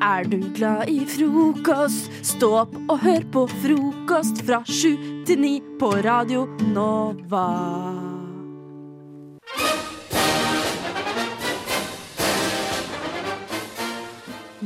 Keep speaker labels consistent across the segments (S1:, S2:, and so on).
S1: Er du glad i frokost? Stå opp og hør på frokost fra sju til ni på Radio Nova.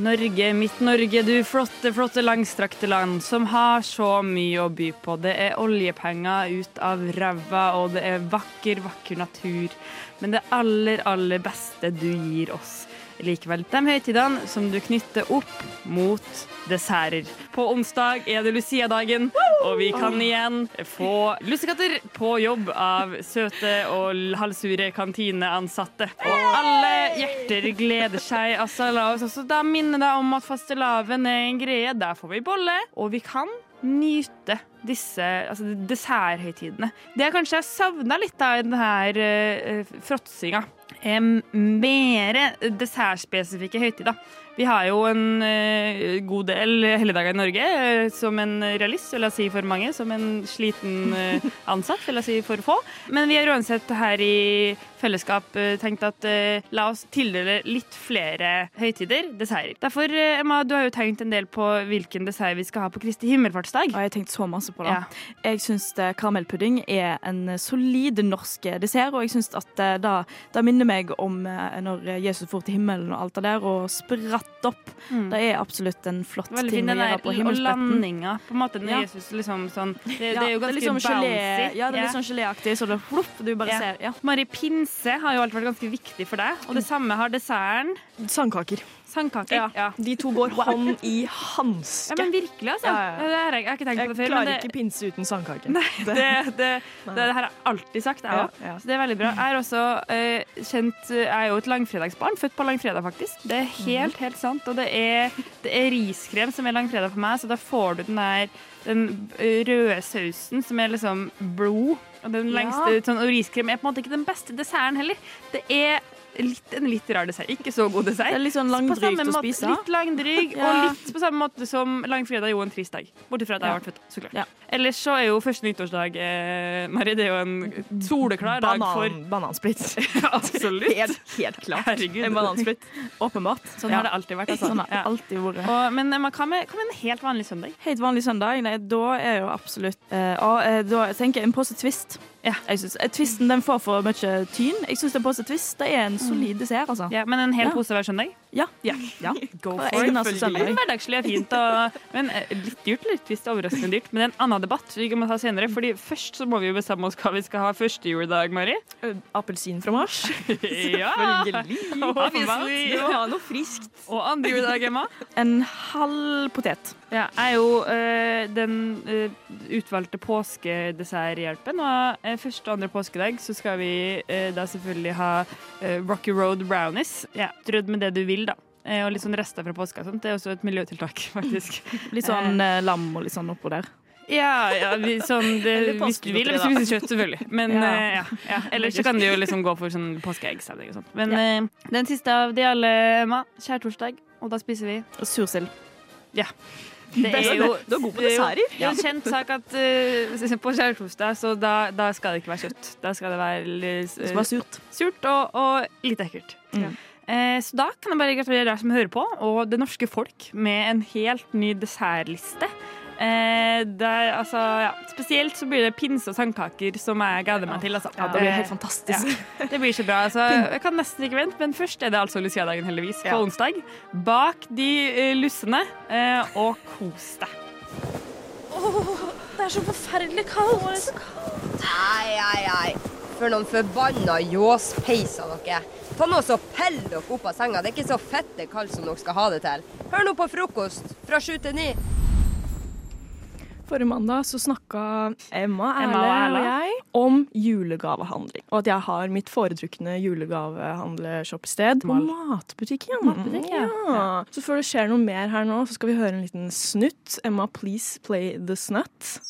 S2: Norge, mitt Norge, du flotte, flotte langstrakte land som har så mye å by på. Det er oljepenger ut av ræva, og det er vakker, vakker natur. Men det aller, aller beste du gir oss, er likevel de høytidene som du knytter opp mot desserter. På onsdag er det Lucia-dagen, og vi kan igjen få lussekatter på jobb av søte og halvsure kantineansatte. Og alle hjerter gleder seg. Altså, la oss også da minne deg om at fastelavn er en greie. Der får vi bolle, og vi kan nyte disse altså, desserthøytidene. Det jeg kanskje har savna litt av i denne uh, fråtsinga, er mer Eh, dessertspesifikke høytider. Vi har jo en eh, god del helligdager i Norge eh, som en realist, vil jeg si for mange. Som en sliten eh, ansatt, vil jeg si for få. Men vi har uansett her i fellesskap eh, tenkt at eh, la oss tildele litt flere høytider, desserter. Derfor, eh, Emma, du har jo tenkt en del på hvilken dessert vi skal ha på Kristi himmelfartsdag.
S1: Og jeg har tenkt så masse på det.
S2: Ja.
S1: Jeg syns eh, karamellpudding er en solid norsk dessert, og jeg syns at eh, da, da minner meg om eh, når Jesus for til himmelen og alt det der, og spratt opp.
S2: Mm.
S1: Det er absolutt en flott
S2: Veldig
S1: ting
S2: fin
S1: å
S2: den der
S1: gjøre på
S2: og
S1: himmelspretten.
S2: landinga. På en måte når
S1: Ja.
S2: Jesus liksom sånn Det, det
S1: Ja,
S2: er jo ganske
S1: litt sånn gelé,
S2: bouncy.
S1: ja, det er
S2: Ja.
S1: litt sånn geléaktig, så det plopp, du bare
S2: Ja.
S1: ser. Ja.
S2: Mari, pinse har jo alltid vært ganske viktig for deg. Og det samme har desserten.
S3: Sandkaker.
S2: Sandkaker. Ja. Ja.
S3: De to går hånd i hanske.
S2: men virkelig, altså.
S3: Ja, ja, ja.
S2: Det her har jeg, jeg har ikke tenkt på
S3: Jeg
S2: det før. men
S3: klarer
S2: det,
S3: ikke pinse uten sandkake.
S2: det, det, det, det her har jeg alltid sagt, jeg
S3: Ja,
S2: òg.
S3: ja.
S2: Så det er veldig bra. Jeg er også eh, kjent Jeg er jo et langfredagsbarn, født på langfredag, faktisk. Det er
S1: Mhm.
S2: helt, helt sant. Og det er, det er riskrem som er langfredag for meg, så da får du den der den røde sausen som er liksom blod. Og den lengste sånn, og riskrem er på en måte ikke den beste desserten heller. Det er litt, en litt rar dessert. Ikke så god dessert.
S1: Det er litt sånn
S2: På samme
S1: langdrygt å
S2: måte-
S1: spise.
S2: Litt langdryg,
S1: Ja.
S2: og litt på samme måte som langfredag er jo en trist dag. Bortsett fra at jeg har vært født, så klart.
S1: Ja.
S2: Ellers så er jo første nyttårsdag, eh, Mari, det er jo en soleklar dag for
S3: Banan, banansplitt.
S2: Absolutt.
S3: Helt, helt klart.
S2: Herregud.
S3: En banansplitt. Åpenbart.
S2: Sånn har det alltid vært. Altså.
S1: Sånn har
S2: Ja.
S1: alltid vært.
S2: Og, men Emma, hva med, hva med en helt vanlig søndag?
S1: Helt vanlig søndag, nei, da er jo absolutt eh, og, eh, Da tenker jeg en pose twist.
S2: Ja.
S1: Jeg synes, eh, twisten den får for mye tyn. Jeg syns en pose twist det er en solid dessert, altså.
S2: Ja, men en hel
S1: Ja.
S2: pose hver søndag?
S1: Ja.
S3: Ja. Go
S1: Hva er
S3: for it.
S1: eneste søndag?
S2: Det er Hverdagslig og fint. Og, men eh, litt dyrt, litt visst overraskende dyrt. Men det er en annen debatt vi kan ta senere. Fordi først så må vi jo bestemme oss hva vi skal ha første juledag, Mari.
S3: Eh, Appelsin fra Mars.
S2: Ja.
S3: Du
S2: Obviously.
S3: må ha noe friskt.
S2: Og andre juledag, Emma.
S1: En halv potet.
S2: Ja, jeg er jo eh, den eh, utvalgte påskedesserthjelpen. Og eh, første og andre påskedag så skal vi eh, da selvfølgelig ha eh, Rocky Road brownies. Ja, Strødd med det du vil, da. Eh, og litt sånn rester fra påska og sånt. Det er også et miljøtiltak, faktisk.
S1: Litt sånn eh, lam og litt sånn oppå der.
S2: Ja, ja vi, sånn, det,
S3: Eller
S2: hvis du vil.
S3: påskegodteri,
S2: Hvis du spiser kjøtt, selvfølgelig. Men
S1: Ja.
S2: eh, ja. ja. Ellers så kan du jo liksom gå for sånn påskeeggstemning og sånt. Men eh, den siste av de alle, Emma. Skjærtorsdag. Og da spiser vi
S1: Og sursild.
S2: Det
S3: Best-
S2: er jo,
S3: du er god på
S2: det er jo-
S3: desserter.
S2: Det er jo en kjent sak at eh, på skjærtorsdag, så da, da skal det ikke være kjøtt. Da skal det være
S3: Det
S2: eh,
S3: skal være surt.
S2: surt og, og litt ekkelt.
S1: Ja.
S2: Eh, Så da kan jeg bare gratulere deg som hører på, og det norske folk, med en helt ny dessertliste. Eh, der, altså, ja. Spesielt så blir det pinse og sandkaker som jeg gleder meg til. Altså.
S3: Ja, det blir helt fantastisk.
S2: Ja, det blir så bra. Altså, jeg kan nesten ikke vente, men først er det altså Lucia-dagen, heldigvis, på
S3: Ja.
S2: onsdag. Bak de eh, lussene, eh, og kos deg.
S1: Det er så forferdelig kaldt.
S4: Nei, nei, nei. For noen forbanna ljåspeiser dere. Ta nå så pell dere opp av senga. Det er ikke så fette kaldt som dere skal ha det til. Hør nå på frokost fra sju til ni.
S3: Forrige mandag så snakka Emma,
S2: Emma
S3: Erle
S2: og
S3: og,
S2: Erle.
S3: jeg om julegavehandling. Og at jeg har mitt foretrukne julegavehandleshoppsted på
S2: Mal.
S3: matbutikken.
S2: Matbutikk, ja.
S3: ja. Så før det skjer noe mer her nå, så skal vi høre en liten snutt. Emma, please play the snut.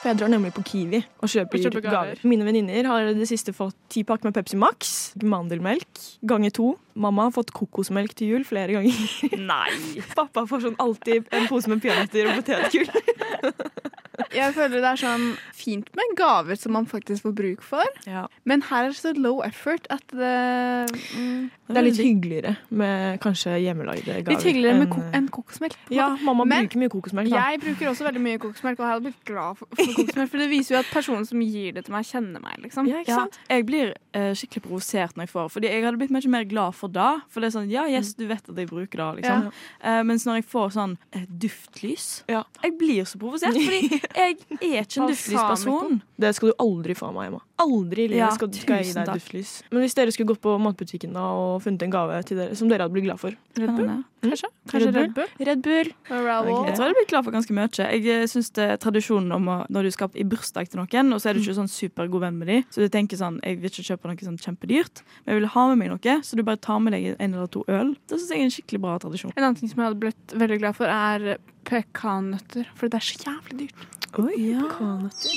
S3: For jeg drar nemlig på Kiwi og kjøper,
S2: Og kjøper gaver.
S3: gaver. Mine venninner har i det siste fått ti pakk med Pepsi Max, mandelmelk ganger to. Mamma har fått kokosmelk til jul flere ganger.
S2: Nei!
S3: Pappa får sånn alltid en pose med peanøtter og potetgull.
S5: jeg føler det er sånn fint med gaver som man faktisk får bruk for,
S1: Ja.
S5: men her er det så low effort at det mm,
S3: Det er litt hyggeligere med kanskje hjemmelagde gaver.
S5: Litt hyggeligere med
S3: enn- eh,
S5: ko en kokosmelk. på en
S3: Ja, mamma
S5: Men-
S3: bruker mye kokosmelk, da.
S5: Jeg bruker også veldig mye kokosmelk, og jeg hadde blitt glad for, for kokosmelk. For det viser jo at personen som gir det til meg, kjenner meg, liksom.
S3: Ja, ikke
S1: Ja,
S3: sant?
S1: jeg blir eh, skikkelig provosert når jeg får Fordi jeg hadde blitt mye mer glad for det. For det er sånn, ja,
S5: Mm.
S1: yes, du vet at jeg bruker det, liksom. Eh, mens når jeg får sånn eh, duftlys
S3: Ja.
S1: Jeg blir så provosert, fordi jeg er ikke en
S5: liksom.
S1: duftlysperson.
S3: Det skal du aldri få av meg, Emma. Aldri i livet
S1: Ja,
S3: skal, skal jeg gi
S1: tusen
S3: deg
S1: takk.
S3: duftlys. Men hvis dere skulle gått på matbutikken da og funnet en gave til dere som dere hadde blitt glad for
S5: Red Bull?
S1: Spennende.
S5: Kanskje? Kanskje Red Bull?
S1: Red Bull.
S5: Og Raoul?
S1: Jeg tror jeg hadde blitt glad for ganske mye. Jeg eh, syns tradisjonen om å, når du skal i bursdag til noen, og så er du ikke sånn supergod venn med dem, så du tenker sånn Jeg vil ikke kjøpe noe sånn kjempedyrt, men jeg vil ha med meg noe, så du bare tar med deg en eller to øl. Det syns jeg er en skikkelig bra tradisjon.
S5: En annen ting som jeg hadde blitt veldig glad for, er pekannøtter. For det er så jævlig dyrt.
S3: Oi, pekanøtter.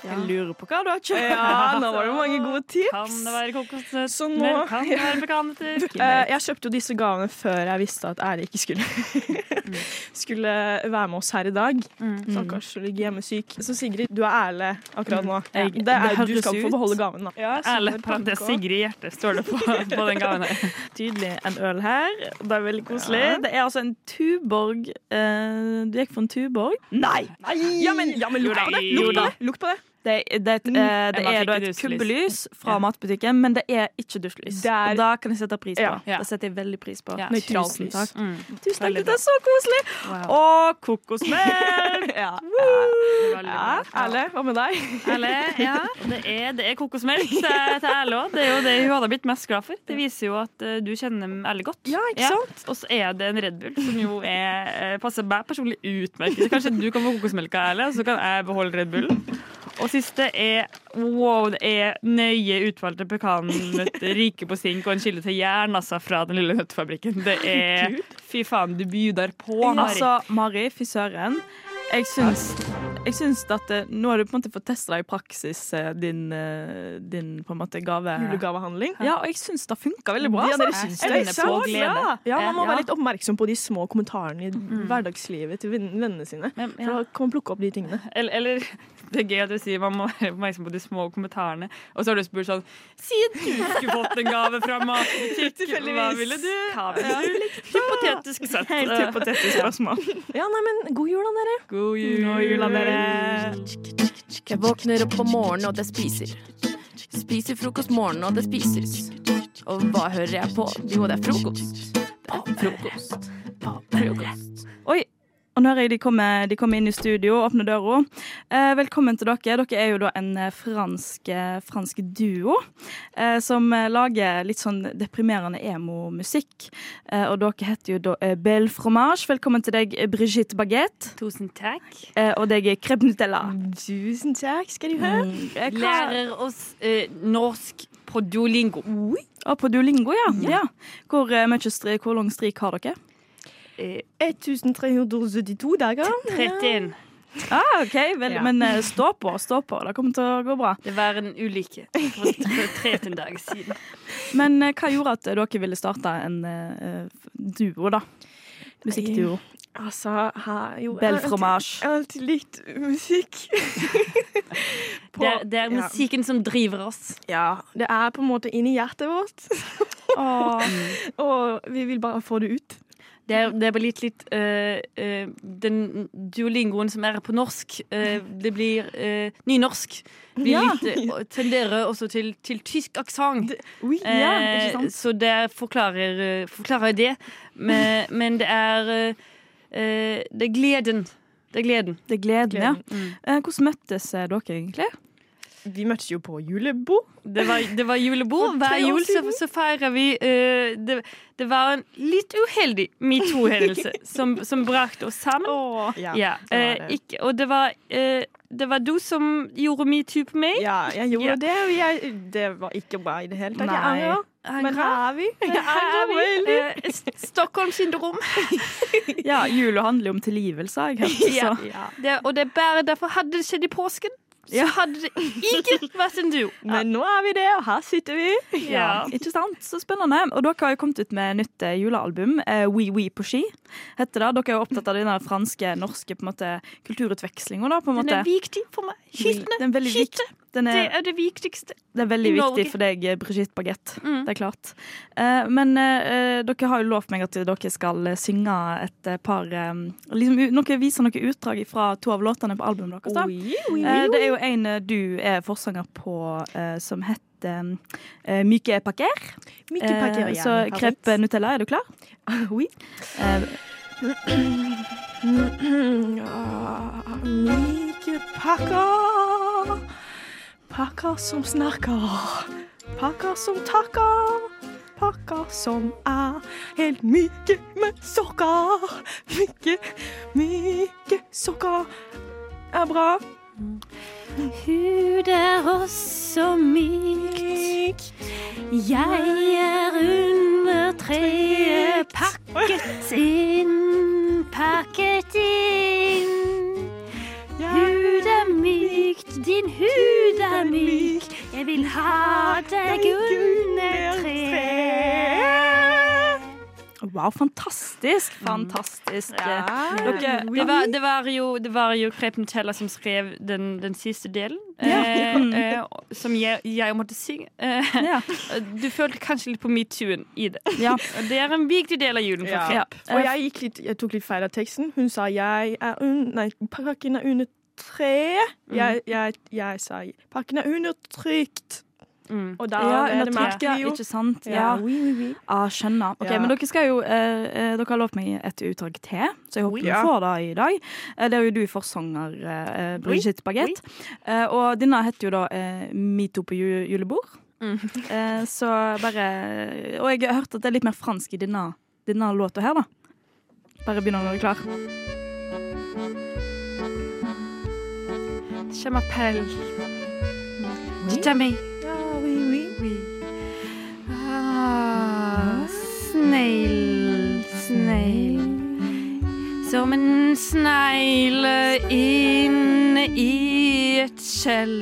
S1: Jeg lurer på hva du har kjøpt.
S3: Ja, nå var det mange gode tips.
S2: Kan det være kokosnøtt?
S3: Så nå-
S2: Kan det være pekanetter?
S3: Eh, jeg kjøpte jo disse gavene før jeg visste at Ære ikke skulle
S1: Mm.
S3: Skulle være med oss her i dag. Stakkars, du ligger hjemmesyk. Så Sigrid, du er Erle akkurat nå.
S1: Mm. Jeg-
S3: det
S1: det
S3: er,
S1: høres
S3: du skal få
S1: ut.
S3: beholde gaven, da. Ja,
S2: Erle, parentes Sigrid Hjerte står det på, på den gaven her.
S1: Tydelig en øl her. Det er veldig koselig. Det er altså en Tuborg eh, Du gikk for en Tuborg? Nei! Ja, men, ja, men lukt på det!
S2: Nei.
S1: Lukt på det! Lukt på det. Det, er- det, er et, eh, det
S2: Emma
S1: er
S2: fikk
S1: da et
S2: duftlys.
S1: kubbelys fra
S2: Ja.
S1: matbutikken, men det er ikke duftlys.
S3: Det er-
S1: Og da kan jeg sette pris på.
S3: Ja.
S2: Ja.
S1: Det setter jeg veldig pris på.
S2: Ja.
S3: Nøytralt
S1: Tusen
S3: lys.
S1: takk.
S2: Mm.
S1: Tusen takk,
S2: Veldig
S1: dette er så koselig!
S2: Wow.
S1: Og kokosmelk! ja.
S2: Veldig bra.
S3: Erle, hva med deg?
S2: Erle, ja. Det er, det er kokosmelk til, eh, til Erle òg. Det er jo det hun hadde blitt mest glad for. Det viser jo at eh, du kjenner Erle godt.
S3: Ja, ikke sant?
S2: Og så er det en Red Bull, som jo er, eh, passer meg personlig utmerket. Så Kanskje du kan få kokosmelka, Erle, så kan jeg beholde Red Bullen. Og siste er wow, det er nøye utvalgte pekannøtter, rike på sink og en kilde til jern altså, fra den lille nøttefabrikken. Det er Fy faen, du byr på, Mari.
S1: Altså, Mari, fy søren. Jeg syns, jeg syns at eh, nå har du på en måte fått testa i praksis eh, din, eh, din på en måte gave.
S3: Julegavehandling.
S1: Ja, og jeg syns det funka veldig bra.
S3: Ja,
S1: altså.
S3: dere syns
S2: Jeg
S3: det.
S2: kjenner
S3: ikke sant?
S2: på glede.
S3: Ja, man
S1: Eh,
S3: må
S2: Ja.
S3: være litt oppmerksom på de små kommentarene i
S1: Mm.
S3: hverdagslivet til venn- vennene sine.
S2: Men, ja.
S3: For da kan man plukke opp de tingene.
S2: Eller, eller det er gøy at du sier man må være oppmerksom på de små kommentarene. Og så har du spurt sånn Si at du skulle fått en gave fra matbutikk. Hva ville du? Hva ville du? Hypotetisk sett.
S1: Helt hypotetisk spørsmål.
S3: Ja, nei, men god jul, da, dere.
S2: God jul.
S1: God jul, da, dere.
S6: Jeg våkner opp om morgenen, og det spiser. Spiser frokost morgenen, og det spises. Og hva hører jeg på? Jo, det er frokost. Det er frokost. Frokost.
S1: Oi, og nå hører jeg de kommer, de kommer inn i studio, åpner døra. Eh, velkommen til dere. Dere er jo da en eh, fransk, eh, fransk duo eh, som eh, lager litt sånn deprimerende emo-musikk. Eh, og dere heter jo da eh, Belle Fromage. Velkommen til deg, eh, Brigitte Baguette.
S6: Tusen takk.
S1: Eh, og deg, er Crêpe Nutella.
S3: Tusen takk skal du ha.
S1: Eh, hva-
S6: Mm. Lærer oss eh, norsk på duolingo.
S1: Ah, på Duolingo, ja. ja. Hvor, eh, mye stri- hvor lang strik har dere?
S3: Eh, 1372 dager.
S6: 31.
S1: Ah, ok, vel,
S3: Ja.
S1: Men eh, stå på, stå på. Det kommer til å gå bra.
S6: Det var en ulykke for, for 13 dager siden.
S1: Men eh, hva gjorde at eh, dere ville starte en eh, f- duo, da? Musikkduo.
S3: Altså, her jo jeg Eh, har
S1: Belle
S3: alltid-
S1: fromage.
S3: Jeg har alltid likt musikk. På-
S6: Det er, det er musikken som driver oss.
S3: Ja, det er på en måte inni hjertet vårt. og,
S1: Mm.
S3: og vi vil bare få det ut.
S6: Det er, det er bare litt litt eh, eh, Den duolingoen som er på norsk, eh, det blir eh, nynorsk. Vi
S1: Ja.
S6: litt, eh, tenderer også til, til tysk aksent.
S3: Oui,
S6: Eh, så det forklarer, eh, forklarer det. Men, men det er eh, eh, Det er gleden. Det er gleden.
S1: Det er gleden, ja. Eh, Hvordan møttes eh, dere egentlig?
S3: mm. Vi møttes jo på julebord.
S6: Det var, det var julebord. Hver
S3: tre år
S6: jul så, så feirer vi eh, det, det var en litt uheldig metoo-hendelse som, som brakte oss sammen.
S3: Ja.
S6: Ja,
S3: det var
S6: eh,
S3: det.
S6: ikke, og det var, eh, det var du som gjorde metoo på meg.
S3: Ja, jeg gjorde
S6: Ja.
S3: det, og jeg, det var ikke bra i det hele tatt. Jeg
S1: Nei.
S3: angrer. Men her er vi. Jeg
S6: Her
S3: angrer
S6: er vi.
S3: veldig.
S6: Eh, S- Stockholm-syndrom.
S1: Ja, Jula handler jo om tilgivelse. Jeg,
S6: Ja. Det- Og det er bare derfor hadde det skjedd i påsken, så hadde det ikke vært en duo.
S3: Men nå er vi det, og her sitter vi.
S6: Ja.
S1: Ikke sant? Så spennende. Og dere har jo kommet ut med nytt eh, julealbum, eh, We We på ski. heter det. Dere er jo opptatt av den der franske, norske på en måte, kulturutvekslinga, da, på en
S2: Den er
S1: måte.
S2: viktig for meg. Skytene.
S1: Den er veldig
S2: Skyte.
S1: vikt- Den
S2: Det
S1: er,
S2: er det viktigste.
S1: det er
S2: i
S1: veldig
S2: Norge.
S1: viktig for deg, eh, Brigitte Baguette.
S2: Mm.
S1: Det er klart. Eh, men eh, eh, dere har jo lovt meg at dere skal eh, synge et eh, par eh, liksom, u- noe, Vise noen utdrag fra to av låtene på albumet deres. da. Eh, det er jo en eh, du er forsanger på eh, som heter eh, Myke Paquer. Eh, så Krepp Nutella, er du klar?
S7: Oui.
S1: Eh,
S7: Myke pakker, pakker som snakker, pakker som takker, pakker som er helt myke med sokker. Myke, myke sokker er bra.
S6: Hud er også mykt.
S7: Myk.
S6: Jeg er under treet, pakket inn, pakket inn. Hud er mykt, din hud er myk. Jeg vil ha deg under treet.
S1: wow, fantastisk! Fantastisk.
S7: Ah,
S1: Eh, Dere,
S2: Det var, det var jo, det var jo Krep Nutella som skrev den, den siste delen, eh, eh, som jeg, jeg måtte synge. Eh,
S1: Ja.
S2: Du følte kanskje litt på metoo-en i det.
S1: Ja.
S2: Og det er en viktig del av julen for
S7: Ja.
S2: Krep.
S7: Og jeg, gikk litt, jeg tok litt feil av teksten. Hun sa 'jeg er un... Nei, pakken er under tre'.
S1: Mm.
S7: Jeg, jeg, jeg sa 'pakken er undertrykt'.
S2: Mm.
S7: Og da
S1: ja,
S7: er det merket
S1: ja,
S7: vi jo.
S1: ikke sant?
S7: Ja,
S1: Ja. Ah, skjønner. Ok,
S7: Ja.
S1: Men dere skal jo eh, eh, Dere har lovt meg et utdrag til, så jeg håper vi
S7: Ja.
S1: får det i dag. Eh, det er jo du forsanger, eh, Brigitte Baguette. Eh, og denne heter jo da eh, Mito på ju julebord.
S7: Mm.
S1: Eh, så bare Og jeg har hørt at det er litt mer fransk i denne, denne låta her, da. Bare begynner når du er klar.
S2: Je m'appelle Jitami. Ah, Snegl, snegl Som en snegle inne i et skjell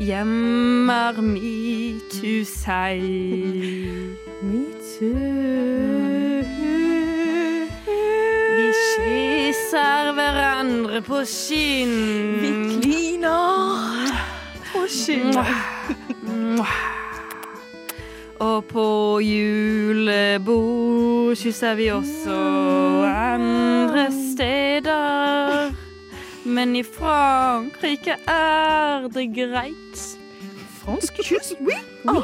S2: gjemmer metoo seg. Vi kysser hverandre på skinn.
S7: Kliner på kinnet.
S2: Og på julebord kysser vi også andre steder. Men i Frankrike er det greit.
S7: Fransk kyss. Ah.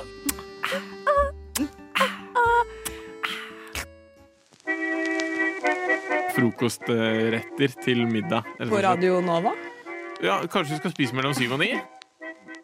S3: Frokostretter til middag. Eller sånn noe
S8: På
S3: sånt.
S8: Radio Nova.
S3: Ja, kanskje vi skal spise mellom syv og ni?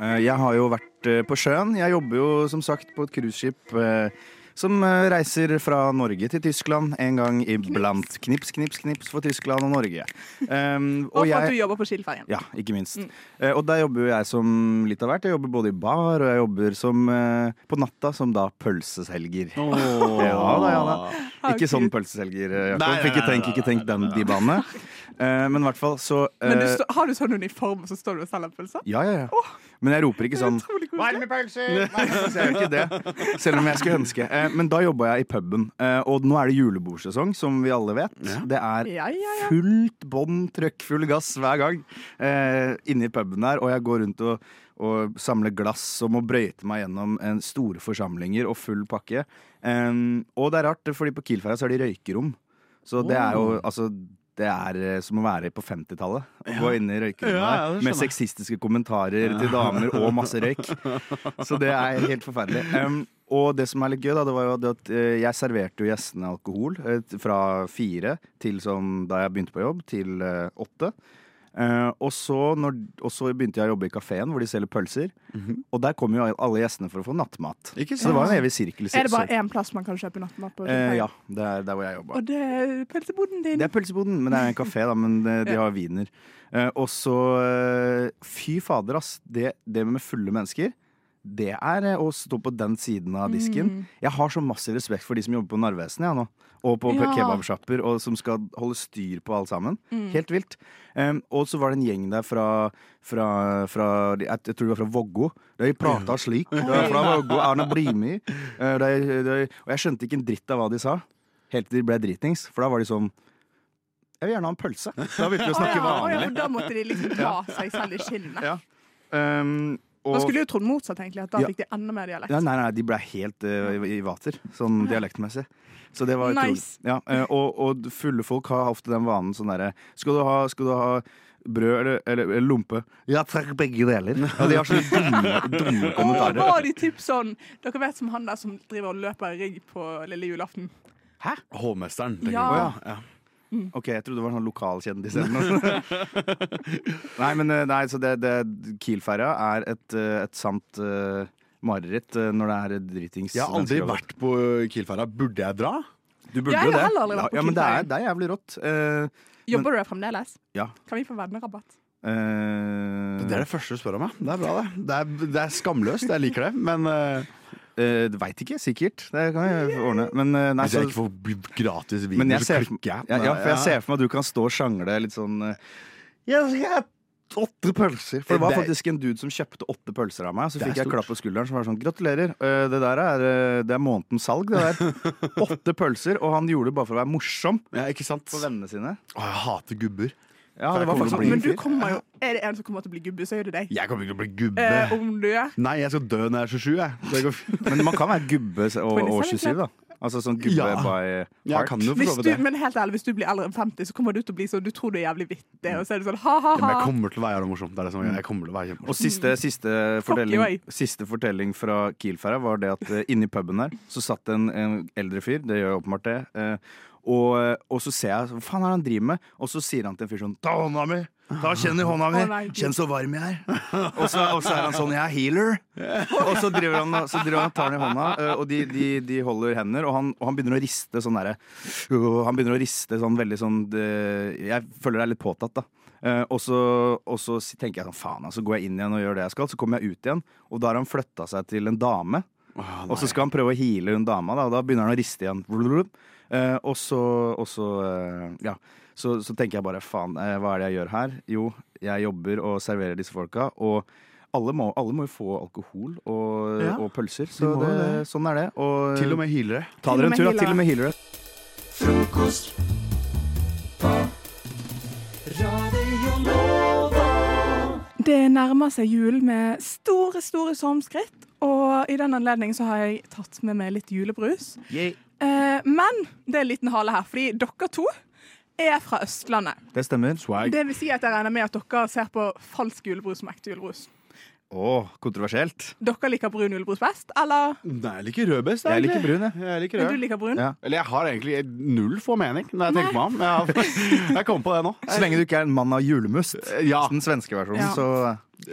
S9: Eh, Jeg har jo vært eh, på sjøen. Jeg jobber jo som sagt på et cruiseskip eh, som eh, reiser fra Norge til Tyskland en gang iblant. Knips, knips, knips for Tyskland og Norge. Um,
S8: Og, for at du jobber på Mm. Skilferien.
S9: ja, ikke minst. Eh, og der jobber jo jeg som litt av hvert. Jeg jobber både i bar og jeg jobber som, eh, på natta som da pølseselger. Ja da, ja da. Ikke sånn pølseselger, eh,
S3: Nei, nei,
S9: Jakob. Ikke
S3: nei,
S9: tenk,
S3: nei,
S9: ikke tenk
S3: nei, nei,
S9: den,
S3: nei.
S9: de banene. Eh, men i hvert fall så
S8: Men du,
S9: eh,
S8: stå- har du sånn uniform, og så står du og selger pølser?
S9: Ja, ja, ja. Men jeg roper ikke sånn
S8: Utrolig koselig.
S9: Varme pølser! Så jeg gjør ikke det, selv om jeg skulle ønske. Eh, Men da jobba jeg i puben, eh, og nå er det julebordsesong, som vi alle vet. Det er
S8: Ja, ja, ja.
S9: fullt bånn, trøkkfull gass hver gang eh, inne i puben der, og jeg går rundt og, og samler glass og må brøyte meg gjennom en store forsamlinger og full pakke. Em, og det er rart, fordi på Kielferja så er det røykerom. Så det er jo altså det er eh, som å være på 50-tallet. Å Gå inn i
S3: Ja,
S9: røykerommet
S3: ja, det
S9: der, med
S3: skjønner jeg.
S9: sexistiske kommentarer til damer og masse røyk. Så det er helt forferdelig. Em, og det som er litt gøy, da, det var jo det at eh, jeg serverte jo gjestene alkohol eh, t- fra fire til sånn da jeg begynte på jobb, til eh, åtte. Eh, og, så når, og så begynte jeg å jobbe i kafeen hvor de selger pølser. Og der kom jo alle gjestene for å få nattmat.
S3: Ikke
S9: Så det var en evig sirkel.
S8: Er det bare én plass man kan kjøpe nattmat på?
S9: Eh,
S8: Skilferien?
S9: ja, det er der hvor jeg jobba.
S8: Og det er pølseboden din.
S9: Det er pølseboden, men det er en kafé, da. Men de, de har wiener. Eh, og så eh, Fy fader, ass. Det, det med fulle mennesker, det er eh, å stå på den siden av disken.
S8: Mm.
S9: Jeg har så massiv respekt for de som jobber på Narvesen, jeg nå. Og på
S8: Ja. Mm.
S9: kebabsjapper, og som skal holde styr på alt sammen. Helt vilt. Em, og så var det en gjeng der fra, fra, fra Jeg jeg tror de var fra Vågå. De prata slik. De var fra Vågå, Arne Brimi. Eh, de, de, og jeg skjønte ikke en dritt av hva de sa. Helt til de ble dritings, for da var de sånn Jeg vil gjerne ha en pølse. Da begynte vi å snakke
S8: Å ja, å ja,
S9: vanlig.
S8: for da måtte de liksom ta
S9: Ja.
S8: seg selv i skinnet.
S9: Ja. Um,
S8: Man
S9: og,
S8: skulle jo trodd motsatt, egentlig, at da
S9: Ja.
S8: fikk de enda mer dialekt.
S9: ja, nei, nei, de ble helt eh, i- i vater, sånn dialektmessig. Så det var utrolig.
S8: Nice.
S9: Ja, eh, og, og fulle folk har ofte den vanen sånn derre Skal du ha, skal du ha brød eller, eller, eller lompe? Ja, takk, begge deler. Ja, de har sånne dumme, dumme
S8: Og var
S9: kommentarer.
S8: de typ sånn Dere vet som han der som driver og løper i rigg på lille julaften?
S10: Hovmesteren. tenker
S8: Ja. Mm.
S10: jeg på.
S9: Å, ja. Ja. OK, jeg trodde det var en sånn lokalkjendis eller noe. nei, men eh, nei, så det, det Kielferja er et, eh, et sant eh, mareritt eh, når det er dritings.
S10: Jeg har aldri
S9: mennesker over.
S10: vært på Kielferda. Burde jeg dra?
S9: Du burde
S8: Jeg
S9: jo
S8: har
S9: det.
S8: heller aldri vært på
S9: ja, men det
S8: Kielferja.
S9: er, det er jævlig rått. Eh,
S8: Jobber du der fremdeles?
S9: ja.
S8: Kan vi få vennerabatt?
S9: Eh,
S10: Det er det første du spør om, ja. Det er bra, det. Det er, det er skamløst. Jeg liker det. Men eh,
S9: Eh, Veit ikke, sikkert. Det kan jeg ordne. Men, eh, nei,
S10: hvis jeg
S9: så-
S10: ikke får b- gratis vin,
S9: men jeg
S10: så
S9: ser,
S10: klikker jeg.
S9: ja, ja, for jeg
S10: Ja.
S9: ser for meg at du kan stå og sjangle litt sånn eh, Jeg skal ha åtte pølser. For det var
S10: Det-
S9: faktisk en dude som kjøpte åtte pølser av meg. Så
S10: Det er
S9: fikk jeg
S10: stort.
S9: klapp på skulderen som var sånn Gratulerer. eh, Det der er, eh, det er månedens salg, det der. Åtte pølser. Og han gjorde det bare for å være morsom
S10: Ja, ikke sant?
S9: for vennene sine.
S10: Å, jeg hater gubber.
S9: Ja,
S10: For
S9: det
S10: jeg
S9: var
S10: kommer til
S9: faktisk sånn,
S10: å bli
S8: Men
S9: han.
S8: du kommer jo Er det en som kommer til å bli gubbe, så er det deg.
S10: Jeg kommer ikke til å bli gubbe.
S8: Eh, om du er
S10: Nei, jeg skal dø når jeg er 27, jeg. Det går fint.
S9: Men man kan være gubbe s- og, og 27, da. Altså sånn gubbe
S10: Ja.
S9: by
S10: Jeg
S9: heart.
S10: kan jo for
S8: hvis
S10: så vidt
S8: du,
S10: det.
S8: men helt ærlig, hvis du blir eldre enn 50, så kommer du til å bli sånn Du tror du er jævlig vittig, og så er du sånn ha-ha-ha.
S10: Mm. Ja, Men jeg kommer til å være jævlig morsom. Det er det som er greia. Jeg kommer til å være kjempemorsom.
S9: Og siste, siste,
S8: away.
S9: fortelling, siste fortelling fra Kielferda var det at eh, inni puben der så satt en, en eldre fyr, det gjør jo åpenbart det, eh, og, og så ser jeg hva faen er det han driver med, og så sier han til en fyr sånn ta hånda mi, ta kjenn i hånda mi,
S8: Å, nei, Gud.
S9: kjenn så varm jeg er. Og så, og så er han sånn jeg er healer. Og så driver han og så driver han, og tar han i hånda, eh, og de, de, de holder hender, og han, og han begynner å riste sånn derre øh, Han begynner å riste sånn veldig sånn det, Jeg føler det er litt påtatt, da. Eh, og, så, og så si- tenker jeg sånn faen, altså går jeg inn igjen og gjør det jeg skal. Så kommer jeg ut igjen, og da har han flytta seg til en dame.
S10: Å,
S9: Og så skal han prøve å heale hun dama, da, og da begynner han å riste igjen. Blubblub. Eh, og så, og så eh, ja. Så, så tenker jeg bare faen, eh, hva er det jeg gjør her? Jo, jeg jobber og serverer disse folka. Og alle må, alle må jo få alkohol og,
S10: Ja,
S9: og pølser, så
S10: må
S9: det,
S10: jo det.
S9: sånn er det. Og
S10: Til og med hylere.
S9: ta dere en tur, da. Til og med healere.
S8: Det nærmer seg jul med store, store stormskritt. Og i den anledning så har jeg tatt med meg litt julebrus. Eh, men det er en liten hale her, fordi dere to er fra Østlandet.
S9: Det stemmer.
S8: Det vil si at jeg regner med at dere ser på falsk julebrus som ekte julebrus.
S9: Å, kontroversielt.
S8: Dere liker brun julebrus best, eller?
S10: Mm, Nei, jeg liker rød best.
S9: Jeg
S10: egentlig.
S9: liker brun, jeg.
S10: Jeg liker
S8: Men du
S10: rød.
S8: liker brun?
S9: Ja.
S10: Eller jeg har egentlig null få mening, når jeg tenker meg om. Jeg, har, jeg kom på det nå.
S9: Så lenge du ikke er en mann av julemust,
S10: Eh, Ja,
S9: den svenske versjonen,
S8: Ja.
S9: så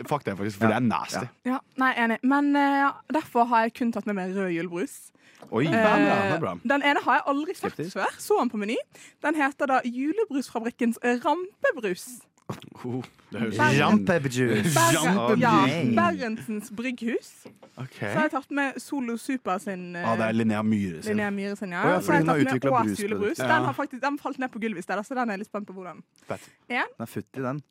S10: fuck det, faktisk, for det er nasty.
S8: Ja, Nei, enig. Men eh, derfor har jeg kun tatt med meg rød julebrus. Eh,
S9: Oi.
S10: Ja, det er bra.
S8: Den ene har jeg aldri sett
S9: Skeptisk.
S8: før. Så den på Meny. Den heter da Julebrusfabrikkens rampebrus.
S10: Oh, det høres
S8: Nei.
S9: Rampejuice.
S8: Bergen, ja,
S9: Rampebrus.
S8: Berentsens brygghus.
S10: Ok.
S8: Så har jeg tatt med Solo Super sin eh,
S10: Ja, det er Linnea Myhre sin.
S8: Linnea Myhre sin, ja.
S9: Å ja,
S8: Så
S9: fordi
S8: har jeg
S9: hun har
S8: tatt med
S9: utviklet
S8: Ås
S9: brus på det.
S8: julebrus.
S10: Ja.
S8: Den, har faktisk, den falt ned på gulvet i sted, så den er jeg litt spent på hvordan.
S10: Fett.
S9: Den er futt i den.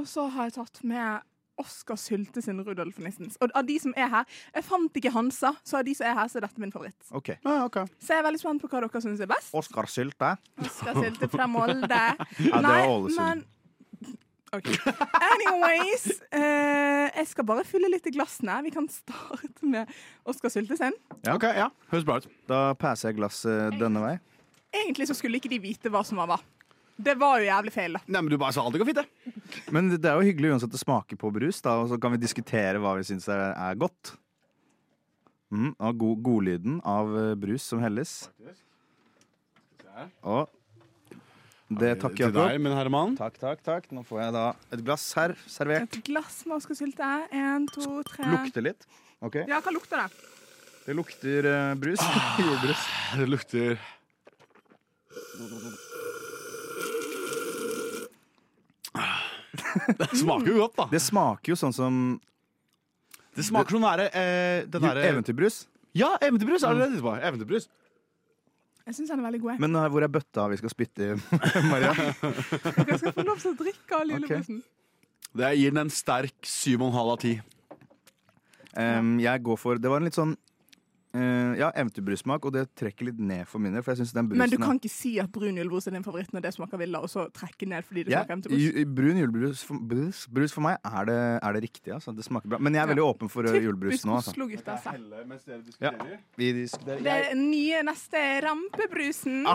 S8: Og så har jeg tatt med Oskar Sylte sin Rudolf Nissens. Og av de som er her, jeg fant ikke Hansa, så av de som er her, så er dette min favoritt.
S9: OK.
S10: Ja, ok.
S8: Så jeg er veldig spent på hva dere syns er best.
S9: Oskar Sylte.
S8: Oskar Sylte fra Molde.
S9: Ja, det er Ålesund.
S8: men OK. Anyways. eh, jeg skal bare fylle litt i glassene. Vi kan starte med Oskar Sylte sin.
S10: Ja, ok, ja. Høres bra ut.
S9: Da passer jeg glasset denne vei.
S8: Egentlig så skulle ikke de vite hva som var hva. Det var jo jævlig feil, da.
S10: Nei, men du bare sa alt det går fint, det.
S9: Men det er jo hyggelig uansett å smake på brus, da, og så kan vi diskutere hva vi syns er, er godt. Mm, og god, godlyden av eh, brus som helles. Og det takker jeg
S10: Til deg,
S9: for.
S10: min herre mann.
S9: Takk, takk, takk. Nå får jeg da et glass her servert.
S8: Et glass med Oskar Sylte. En, to, tre
S9: Lukter litt. Ok,
S8: Ja, hva lukter det?
S9: Det lukter eh, brus. Jordbrus.
S10: Ah, Det lukter Det smaker jo godt, da.
S9: Det smaker jo sånn som
S10: Det smaker sånn derre eh, den
S9: ju-
S10: derre-
S9: eventyrbrus.
S10: Ja, eventyrbrus er det det heter. Eventyrbrus.
S8: Jeg syns den er veldig god.
S9: Men eh, hvor er bøtta vi skal spytte i, Maria?
S8: jeg. Dere skal få lov til å drikke all julebrusen.
S10: Det gir den en sterk 7,5 av 10.
S9: Em, jeg går for Det var en litt sånn eh, ja, eventyrbrussmak, og det trekker litt ned for min del. For jeg synes den brusen
S8: Men du
S9: er-
S8: kan ikke si at brun julebrus er din favoritt når det smaker villa, og så trekke ned fordi det
S9: Ja,
S8: smaker
S9: ju-
S8: eventybrus.
S9: brun julebrus for, brus, brus for meg er det, er det riktig. Altså. Det smaker bra. Men jeg er veldig åpen for eh, julebrus nå. Altså.
S8: Oslo-gutter. sa.
S9: Ja. Vi diskuterer Ah,
S8: Det er den nye neste rampebrusen.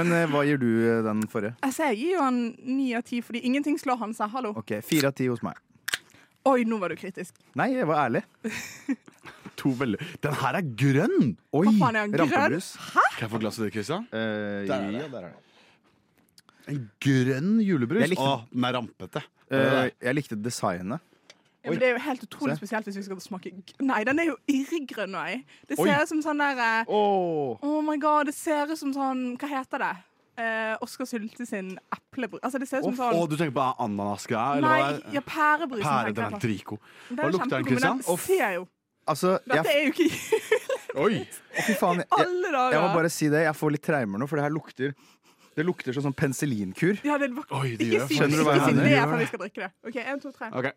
S9: Men eh, hva gir du eh, den forrige?
S8: Altså, jeg gir jo han ni av ti, fordi ingenting slår han, sa hallo.
S9: Ok, Fire av ti hos meg.
S8: Oi, nå var du kritisk.
S9: Nei, jeg var ærlig.
S10: To veldig Den her er grønn! Oi!
S8: Hva faen er han, grønn?
S10: rampebrus.
S8: Hæ?
S10: Kan jeg få et glass av det, Christian?
S9: Eh, ja,
S10: Der er det.
S9: der er det.
S10: En grønn julebrus?
S9: Jeg likte-
S10: Åh, den er rampete.
S9: Eh, jeg likte designet.
S8: Ja, men det er jo helt utrolig
S9: Se.
S8: spesielt hvis vi skal smake g- Nei, den er jo irrgrønn. Nei. Det
S9: Oi.
S8: ser ut som sånn der eh,
S9: Oh.
S8: my god, det ser ut som sånn Hva heter det? Eh, Oskar Sylte sin eplebrus. Altså, det ser ut som
S10: Åh,
S8: sånn
S10: åh, du tenker på ananasgreia? eller hva
S8: Nei,
S10: er-
S8: ja, pærebrusen.
S10: Pære,
S8: tenker
S10: den er
S8: jeg på.
S10: dritgod.
S8: Den
S10: Hva
S8: er
S10: lukter den,
S8: kjempegod, men
S10: Christian?
S8: Den ser jo
S9: Altså, jeg,
S8: Dette er jo ikke
S10: Oi!
S9: Å, fy faen. Jeg,
S8: Alle dager.
S9: jeg må bare si det. Jeg får litt traumer nå, for det her lukter Det lukter som sånn penicillinkur.
S8: Ja, det var
S10: Oi, det
S8: Ikke
S10: gjør
S8: si
S9: Skjønner du hva jeg
S8: ikke si
S9: mener?
S8: det er for vi skal drikke det. OK, én, to, tre.
S10: Ok.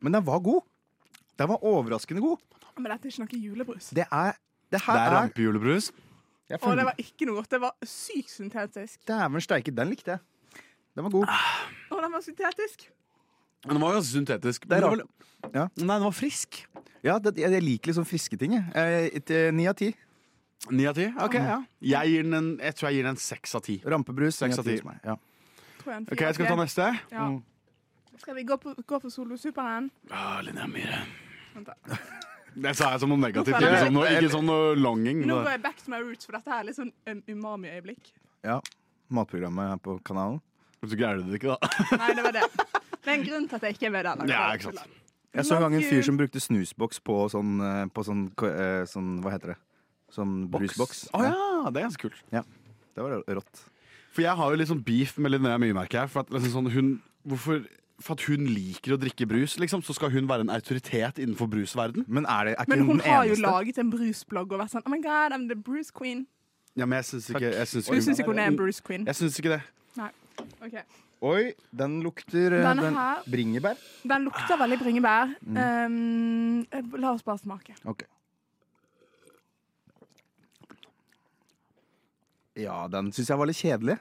S9: Men den var god. Den var overraskende god.
S8: Men dette er ikke noe julebrus.
S9: Det er Det her
S10: Det er
S9: er,
S10: rampejulebrus.
S9: Jeg
S8: Og
S9: føler-
S8: det var ikke noe godt. Det var sykt syntetisk.
S9: Dæven steike, den likte jeg. Den var god.
S8: Å, den var syntetisk.
S10: Men Den var ganske syntetisk.
S9: Det er
S10: Men
S9: rart. Ja.
S10: Nei, den var frisk.
S9: Ja, det, jeg, jeg liker liksom friske ting, jeg. Eh, et, eh, Ni av ti.
S10: var- Ni av ti? Ok, ja. Jeg, gir den en, jeg tror jeg gir den en seks av ti.
S9: Rampebrus.
S10: Seks
S9: ni
S10: av ti.
S9: hos meg, Ja.
S8: Tror jeg en
S10: Ok,
S8: fire av
S10: skal vi
S8: ti.
S10: ta neste? Mm.
S8: Ja. Skal vi gå, på, gå for Solosuperen?
S10: Ah, Linnea Myhre.
S8: Vent da.
S10: Det sa jeg som noe negativt.
S8: Nå
S10: Ikke
S8: føler
S10: sånn noe,
S9: jeg-
S10: ikke sånn noe longing.
S8: Nå
S10: men-
S8: går jeg back to my roots, for dette her er litt sånn um, umami-øyeblikk.
S9: ja. Matprogrammet her på kanalen.
S10: Så greier du det ikke, da.
S8: Nei, det var det. Det er en grunn til at jeg ikke er med der.
S10: Ja, ikke sant.
S9: Jeg så en gang en
S8: Love
S9: fyr
S8: you.
S9: som brukte snusboks på sånn, eh, på sånn, ko- eh, sånn Hva heter det? Sånn brusboks.
S10: Å ja, det er ganske kult.
S9: Ja. Det var rått.
S10: For jeg har jo litt sånn beef med Linnea Myhre, merker jeg. For at, liksom sånn, hun, hvorfor, for at hun liker å drikke brus, liksom, så skal hun være en autoritet innenfor brusverden.
S9: Men er, det, er ikke
S8: Men hun
S9: den
S8: har jo
S9: eneste?
S8: laget en brusblogg og vært sånn Oh my god, I'm the bruce queen.
S10: Ja, men jeg syns ikke, jeg Mm. syns
S8: Du syns ikke hun er en
S10: ikke,
S8: bruce queen?
S10: jeg syns ikke det.
S8: Nei. Ok.
S9: Oi, den lukter eh,
S8: Denne
S9: den
S8: her-
S9: Bringebær.
S8: Den
S9: Ah.
S8: lukter veldig bringebær.
S9: Mm.
S8: Um, la oss bare smake.
S9: Ok. Ja, den syns jeg var litt kjedelig.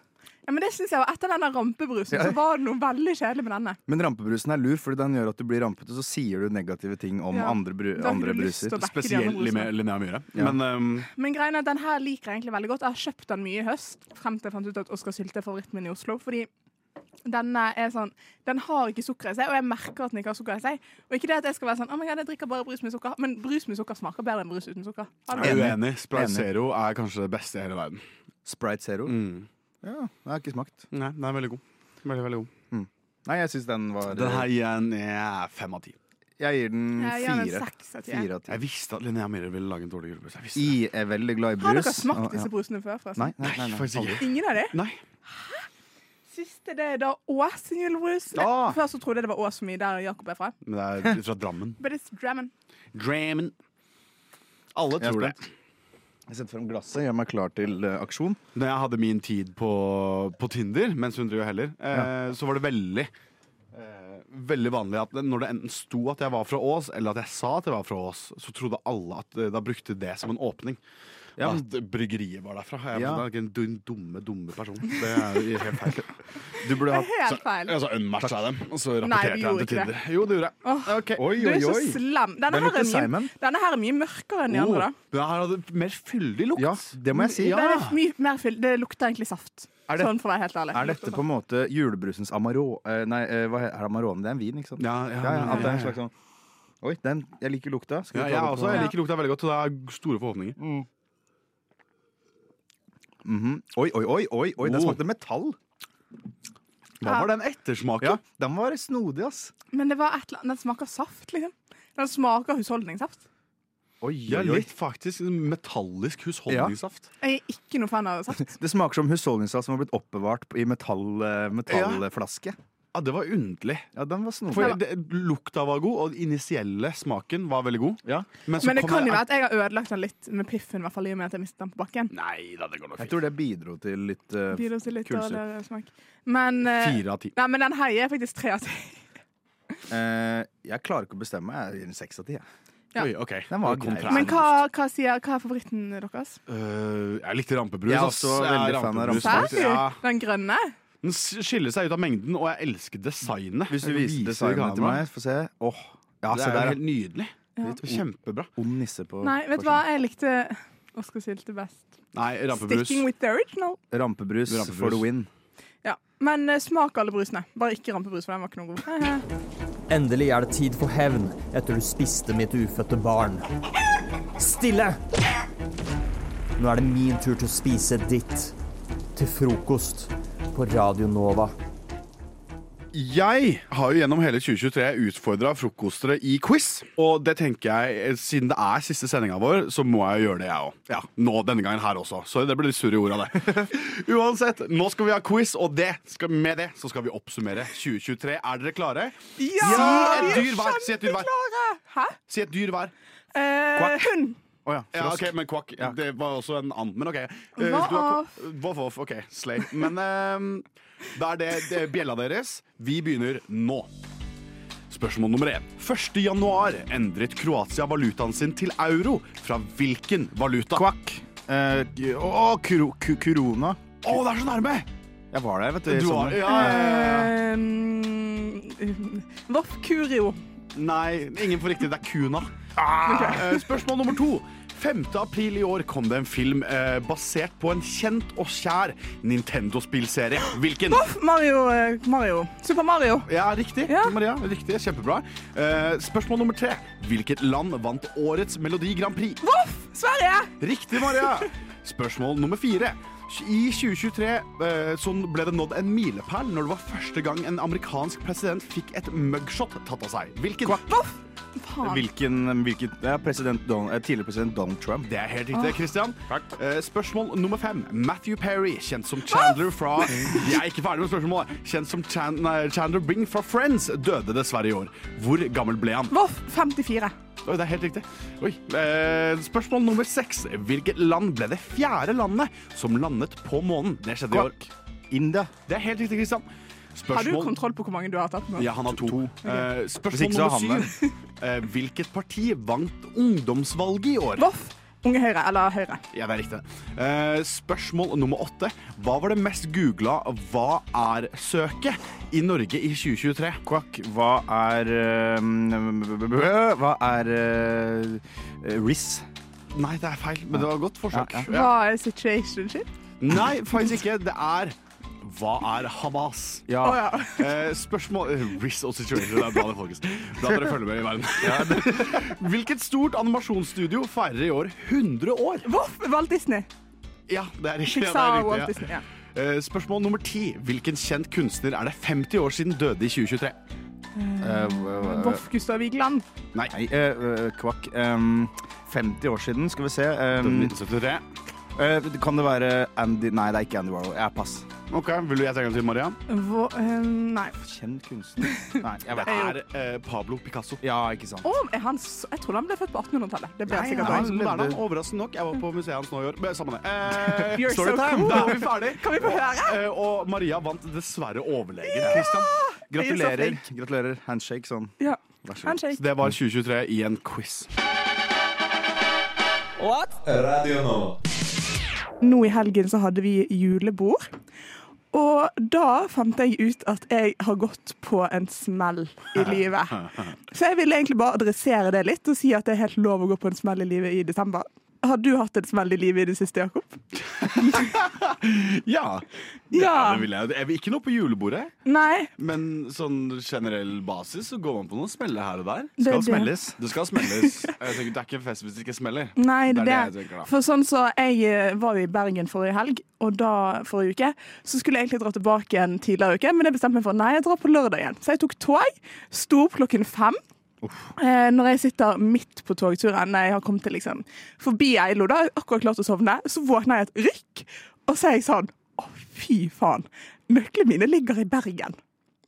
S8: Ja, men det synes jeg var Etter denne rampebrusen så var det noe veldig kjedelig med denne.
S9: Men rampebrusen er lur, fordi den gjør at du blir rampete, så sier du negative ting om
S8: Ja.
S9: andre, bru
S8: Da har
S9: andre
S8: du lyst
S9: bruser.
S8: til å back- Ikke de andre
S10: Spesielt Linnea
S8: brusene.
S10: Linnea Myhre.
S9: Ja.
S10: Men ehm,
S8: Men greien er at den her liker jeg egentlig veldig godt. Jeg har kjøpt den mye i høst, frem til jeg fant ut at Oskar Sylte er favoritten min i Oslo. Fordi denne er sånn Den har ikke sukker i seg, og jeg merker at den ikke har sukker i seg. Og ikke det at jeg skal være sånn Å, men jeg drikker bare brus med sukker. Men brus med sukker smaker bedre enn brus uten sukker. Har du-
S10: jeg
S9: Enig.
S10: er uenig.
S9: Enig.
S10: Sprite Zero er kanskje det beste i hele verden.
S9: Sprite Zero.
S10: Mm.
S9: Ja, den har ikke smakt. Mm.
S10: Nei, den er veldig god. Veldig, veldig god.
S9: Nei, jeg syns den var
S10: Den her gir en ja, fem av ti.
S9: Jeg gir den
S8: Jeg gir den en
S9: fire.
S8: seks av ti.
S9: Fire av ti.
S10: Jeg visste at Linnea Myhre ville lage en dårlig julebrus. Jeg visste det.
S9: I er veldig glad i brus.
S8: Har dere
S9: Og-
S8: smakt
S9: ja.
S8: disse brusene før, forresten?
S9: Nei, nei, nei,
S10: Nei,
S9: nei,
S10: faktisk ikke.
S8: Ingen av de?
S10: Nei.
S8: Siste det er da Ås sin julebrus. Nei,
S10: Ah.
S8: Før så trodde jeg det var Ås for mye, der Jakob er fra.
S10: Men det er fra Drammen.
S8: But it's Drammen.
S10: Drammen. Alle
S9: Jeg er
S10: tror det.
S9: Jeg setter frem glasset, gjør meg klar til eh, aksjon.
S10: Når jeg hadde min tid på, på Tinder, mens hun driver heller, eh, så var det veldig eh, Veldig vanlig at når det enten sto at jeg var fra Ås, eller at jeg sa at jeg var fra Ås, så trodde alle at eh, da brukte det som en åpning.
S9: Ja, men-
S10: At bryggeriet var derfra. Jeg
S9: Ja.
S10: er ikke en dun- dumme, dumme person. Det er jo helt feil.
S9: Du burde hatt
S8: Helt
S9: altså,
S8: feil.
S10: Jeg sa unmatcha dem, og så
S8: Nei, du
S10: rapporterte jeg
S8: gjorde
S10: til
S8: ikke
S10: Tinder. Jo, det gjorde jeg.
S8: Åh,
S10: Ok.
S9: Oi,
S8: Du
S9: oi,
S8: er så
S9: oi.
S8: slem. Denne
S9: Den
S8: her,
S9: lukter
S8: er mye,
S9: Simon.
S8: denne her er mye mørkere enn de andre.
S10: Oh, den her hadde mer fyldig lukt. Mm.
S9: Ja, det må jeg si.
S8: da. Den er mye mer fyll. Det lukter egentlig saft.
S9: Er det-
S8: sånn for å være helt ærlig.
S9: Er dette på en måte julebrusens amaro... eh, Nei, eh, hva he- er amarone? Det er en vin, ikke sant?
S10: Ja, ja,
S9: Ja, ja, at det er en
S10: ja.
S9: slags sånn Oi, den, jeg liker lukta. Skal vi
S10: Ja,
S9: ta
S10: jeg
S9: det på-
S10: også. Jeg liker lukta veldig godt, og det er store forhåpninger.
S9: Mhm. Oi, oi, oi, oi, oi, den
S10: Oh.
S9: smakte metall.
S10: Hva var den ettersmaken?
S9: Ja, den var snodig, ass.
S8: Men det var et eller annet. Den smaker saft, liksom. Den smaker husholdningssaft.
S9: Oi,
S10: Ja,
S9: oi, oi.
S10: litt faktisk metallisk husholdningssaft.
S8: Jeg er ikke noe fan av saft.
S9: Det smaker som husholdningssaft som har blitt oppbevart i metall, eh, metallflaske.
S10: Ja, det var underlig.
S9: Ja, den var snodig.
S10: For det, lukta var god, og den initielle smaken var veldig god.
S9: Ja.
S10: så
S8: Men det
S10: kom
S8: kan
S10: jeg-
S8: jo være at jeg har ødelagt den litt med piffen, i hvert fall i og med at jeg mistet den på bakken.
S10: Nei da, det går nok
S9: Jeg
S10: fint.
S9: tror det bidro til litt eh,
S8: Blir det også litt
S9: Kulsøt.
S8: dårligere smak. Men, eh,
S10: Fire av ti.
S8: nei, men den her gir jeg faktisk tre av ti.
S9: eh, Jeg klarer ikke å bestemme meg. Jeg gir den seks av ti. jeg.
S8: Ja.
S10: Oi, ok.
S11: Den var grei.
S10: Kontrær.
S8: Men hva, hva, sier, hva er favoritten deres?
S10: Øh, jeg likte rampebrus.
S11: Jeg er
S10: ass.
S11: også
S10: Jeg er
S11: veldig fan av
S10: rampebrus,
S11: rampebrus.
S10: faktisk. Ja.
S8: Den grønne?
S10: Den s- skiller seg ut av mengden, og jeg elsker designet.
S11: Hvis du
S10: Jeg
S11: viser
S10: viser
S11: designet
S10: kameraet.
S11: til meg, få se. Åh, ja,
S10: Det
S11: se
S10: er jo
S11: der, ja.
S10: helt nydelig.
S8: Ja.
S10: Litt Kjempebra.
S11: Om nisse på
S8: Nei, vet du hva? Jeg likte Oscarsild best.
S10: Nei, rampebrus.
S8: Sticking with the original.
S11: Rampebrus,
S10: Rampebrus.
S11: for the win.
S8: Ja. Men eh, smak alle brusene. Bare ikke rampebrus, for den var ikke noe god.
S12: Endelig er det tid for hevn etter du spiste mitt ufødte barn. Stille! Nå er det min tur til å spise ditt. Til frokost på Radio Nova.
S10: Jeg har jo gjennom hele 2023 utfordra frokostere i quiz. Og det tenker jeg, eh, siden det er siste sendinga vår, så må jeg jo gjøre det, jeg òg. Ja, nå, denne gangen her også. Sorry, det ble litt surr i orda, det. Uansett, nå skal vi ha quiz, og det skal, med det så skal vi oppsummere 2023. Er dere klare? si et dyr hver. Si et dyr hver.
S8: Hæ?
S10: Si et dyr hver.
S8: Eh,
S10: Quack.
S8: hund.
S11: Å ja.
S10: Ja, ok, men kvakk. Det var også en and, men OK. Eh, hvis
S8: Hva
S10: du har-
S8: av?
S10: Voff, voff. OK, slay. Men ehm, da er det, det er bjella deres. Vi begynner nå. Spørsmål nummer én. 1. januar endret Kroatia valutaen sin til euro. Fra hvilken valuta? Kvakk.
S11: Eh, Å, kro, ku- korona.
S10: Å, det er så nærme!
S11: Jeg var der, vet du. i
S10: Du var-
S11: sommer.
S10: ja, ja, ja,
S8: Eh,
S10: ja.
S8: Um, Voff Curio.
S10: Nei, ingen får riktig. Det er kuna.
S11: Ah!
S10: Eh, Spørsmål nummer to. 5. april i år kom det en film eh, basert på en kjent og kjær Nintendo-spillserie. Hvilken?
S8: Voff Mario, eh, Mario. Super Mario.
S10: Ja, riktig. Maria, riktig. Kjempebra. Eh, spørsmål nummer tre. Hvilket land vant årets Melodi Grand Prix?
S8: Voff! Sverige!
S10: Riktig, Maria. Spørsmål nummer fire. I 2023 eh, så ble det nådd en milepæl når det var første gang en amerikansk president fikk et mugshot tatt av seg. Hvilken? Voff!
S11: Hvilken, hvilket, ja, president Don, eh, tidligere president Donald Trump.
S10: Det er helt riktig,
S8: Ah.
S10: Christian. Eh, spørsmål nummer fem. Matthew Perry, kjent som Chandler fra Jeg er ikke ferdig med spørsmålet. Kjent som Chan nei, Chandler Bing fra Friends, døde dessverre i år. Hvor gammel ble han?
S8: Voff 54.
S10: Oi, det er helt riktig. Oi. Eh, spørsmål nummer seks. Hvilket land ble det fjerde landet som landet på månen? Det skjedde i år.
S11: India.
S10: Det er helt riktig, Kristian. Spørsmål...
S8: Har du kontroll på hvor mange du har tatt nå?
S10: Ja, han har to. Eh,
S11: Hvis ikke,
S10: spørsmål
S11: så har han
S10: nummer syv. Eh, hvilket parti vant ungdomsvalget i år?
S8: Voff. Unge Høyre eller Høyre.
S10: Ja, det er riktig. Eh, spørsmål nummer åtte. Hva var det mest googla hva er-søket i Norge i 2023?
S11: Kvakk, hva er eh, b- b- b- Hva er eh, RIS?
S10: Nei, det er feil, men det var et godt forsøk. Ja.
S8: Hva er situationship?
S10: Nei, faktisk ikke. Det er hva er Hamas?
S8: Å, ja.
S10: Eh, spørsmål Riz og Situation. Det er bra, det, folkens. Bra dere følger med i verden. Hvilket stort animasjonsstudio feirer i år 100 år?
S8: Voff Walt Disney.
S10: Ja, det er riktig. Ja, det
S8: Pixar
S10: er
S8: og Walt
S10: riktig
S8: Disney.
S10: ja.
S8: Ja.
S10: Eh, Spørsmål nummer ti. Hvilken kjent kunstner er det 50 år siden døde i 2023? Eh,
S8: Voff Gustav Vigeland.
S10: Nei.
S11: Nei, eh, eh, kvakk. em, 50 år siden, skal vi se. em,
S10: 1973.
S11: eh, kan det være Andy Nei, det er ikke Andy Warhol. Ja, pass.
S10: Ok, Vil du gjette en gang til, Maria?
S8: Vå, eh, nei.
S11: Kjent kunstner. Nei, jeg
S10: Det
S11: vet ikke.
S10: er eh, Pablo Picasso.
S11: Ja, ikke sant.
S8: Å, er han så, jeg trodde han ble født på 1800-tallet. Det ble han
S10: Nei,
S8: sikkert
S10: han
S8: også.
S10: levde- Overraskende nok. Jeg var på museet hans nå i år. Men Samme det. Eh,
S8: You're so
S10: storytime.
S8: cool.
S10: Da er vi ferdig.
S8: Kan vi få høre?
S10: Eh, og Maria vant dessverre overlegen. Christian.
S11: Gratulerer. Gratulerer. Handshake sånn.
S8: Ja.
S11: Vær så god.
S8: Handshake.
S10: Så Det var 2023 i en quiz.
S13: Radio Nova.
S8: Nå i helgen så hadde vi julebord. Og da fant jeg ut at jeg har gått på en smell i livet. Så jeg ville egentlig bare adressere det litt og si at det er helt lov å gå på en smell i livet i desember. Har du hatt en smell i livet i det siste, Jakob?
S10: Ja.
S8: Ja.
S10: Det vil jeg. jeg vil ikke noe på julebordet,
S8: Nei.
S10: men sånn generell basis så går man på noen smeller her og der.
S8: Det er Skal det. smelles.
S10: Det skal smelles. Jeg tenker, det er ikke en fest hvis det ikke smeller.
S8: Nei,
S10: er
S8: det, er
S10: det jeg tenker, da.
S8: For sånn så jeg eh, var jo i Bergen forrige helg, og da forrige uke, så skulle jeg egentlig dra tilbake en tidligere uke, men jeg bestemte meg for nei, jeg drar på lørdag igjen. Så jeg tok tog, sto opp klokken fem. Eh, når jeg sitter midt på togturen, når jeg har kommet til liksom forbi Eilo, da har jeg akkurat klart å sovne, så våkner jeg et rykk, og så er jeg sånn, å fy faen, nøklene mine ligger i Bergen.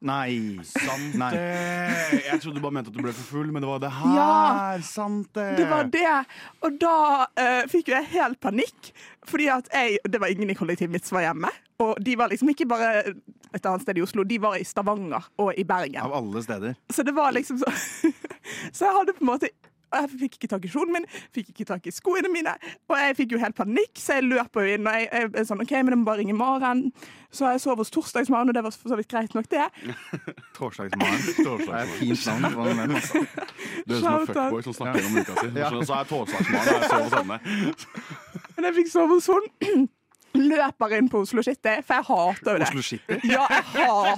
S11: Nei.
S10: Sant
S11: Nei.
S10: det! Jeg trodde du bare mente at du ble for full, men det var det her.
S8: Ja.
S10: Sant det!
S8: Det var det. Og da eh, fikk jo jeg helt panikk, fordi at jeg Det var ingen i kollektivet mitt som var hjemme. Og de var liksom ikke bare et annet sted i Oslo, de var i Stavanger og i Bergen.
S11: Av alle steder.
S8: Så det var liksom så Så jeg hadde på en måte Og jeg fikk ikke tak i kjolen min, fikk ikke tak i skoene mine. Og jeg fikk jo helt panikk, så jeg løper jo inn og jeg, jeg, er sånn OK, men jeg må bare ringe Maren. Så jeg sov hos Torsdagsmaren, og det var for så vidt greit nok, det.
S9: Torsdagsmorgen. Det er et fint navn. på den der, altså.
S10: Du er som en
S8: Shout out.
S10: fuckboy som snakker om uka si.
S9: Ja.
S10: Så- Så er torsdagsmorgen og jeg sover hos henne.
S8: Men jeg fikk sove hos hun. Løper inn på Oslo City, for jeg hater jo det.
S10: Oslo City?
S8: Ja, jeg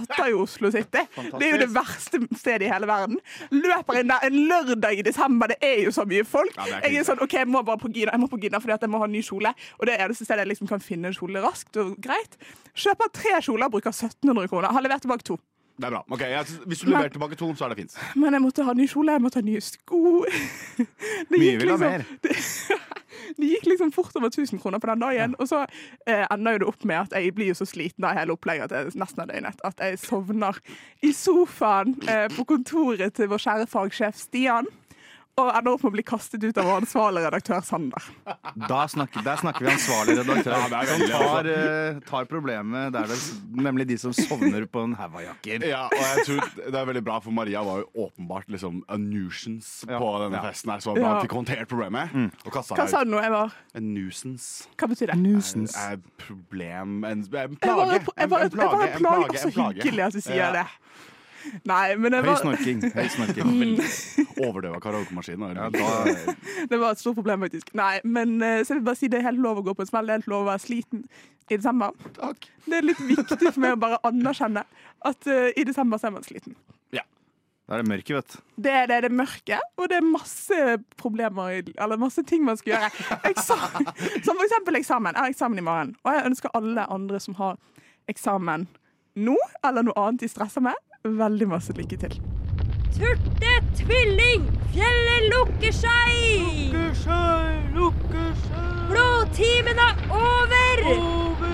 S8: hater jo Oslo City. Det er jo det verste stedet i hele verden. Løper inn der en lørdag i desember, det er jo så mye folk.
S10: Ja, det er
S8: jeg
S10: krise.
S8: er sånn, ok, jeg må bare på Gina, jeg må på Gina fordi at jeg må ha en ny kjole. Og det er det eneste stedet jeg liksom kan finne en kjole raskt og greit. Kjøper tre kjoler, bruker 1700 kroner. Har levert tilbake to.
S10: Det er bra. Ok, jeg, Hvis du leverer tilbake to, så er det fint.
S8: Men jeg måtte ha ny kjole, jeg måtte ha nye sko. Det
S10: Mye
S8: gikk
S10: vil ha
S8: liksom-
S10: mer.
S8: Det gikk liksom fort over 1000 kroner på den dagen. Og så eh, ender jo det opp med at jeg blir jo så sliten av hele opplegget at jeg nesten er døgnet. At jeg sovner i sofaen eh, på kontoret til vår kjære fagsjef Stian. Og ender opp med å bli kastet ut av vår ansvarlige redaktør Sander.
S9: Da snakker, der snakker vi ansvarlig redaktør.
S10: Ja, det er
S9: som
S10: veldig,
S9: tar,
S10: altså.
S9: eh, tar problemet der det Nemlig de som sovner på en haug av jakker.
S10: Ja, og jeg tror Det er veldig bra, for Maria var jo åpenbart liksom a nuisance på denne
S9: Ja.
S10: festen. her Så det var bra
S8: Ja. Mm.
S10: at fikk håndtert problemet. Og kasta
S8: Hva sa du nå? Jeg var
S10: En nuisance.
S8: Hva betyr det?
S10: Er, er problem En, en plage.
S8: Jeg var en, jeg var, jeg var en plage, og så
S10: en plage.
S8: hyggelig at du sier
S10: Ja.
S8: det. Nei, men jeg
S10: Høy
S8: var Mm.
S10: snorking. Høy snorking. Veldig. Overdøva karaokemaskinen. eller? Da-
S8: Det var et stort problem, faktisk. Nei, men eh, så jeg vil bare si det er helt lov å gå på en smell. Det er helt lov å være sliten i desember. Det er litt viktig for meg å bare anerkjenne at eh, i desember så er man sliten.
S9: Da er det mørket, vet du.
S8: Det er det, det er mørke, og det er masse problemer i- Eller masse ting man skal gjøre. Eksamen, som for eksempel eksamen. Jeg har eksamen i morgen, og jeg ønsker alle andre som har eksamen nå, eller noe annet de stresser med, veldig masse lykke til.
S12: Turte tvilling, fjellet lukker seg. Lukker seg, lukker seg. Blodtimen er over.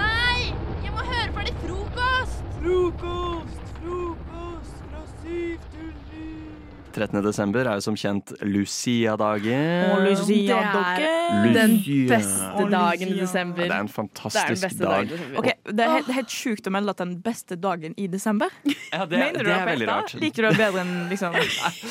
S14: Nei, jeg må høre ferdig frokost! Frokost, frokost fra syv til
S3: 13. desember er jo som kjent Lucia-dagen.
S14: Å, Lucia.
S3: Ja,
S14: Ja,
S1: Det er
S3: Lucia.
S1: den beste
S3: Å,
S1: dagen i
S3: Lucia.
S1: desember.
S3: Det er en fantastisk
S1: Det er den beste
S3: dag.
S1: dagen i desember. Ok, det er helt, helt sjukt å melde at den beste dagen i desember.
S3: det,
S1: Mener du
S3: det
S1: det
S3: er
S1: på
S3: veldig
S1: ekte?
S3: rart.
S1: Liker du det bedre enn liksom,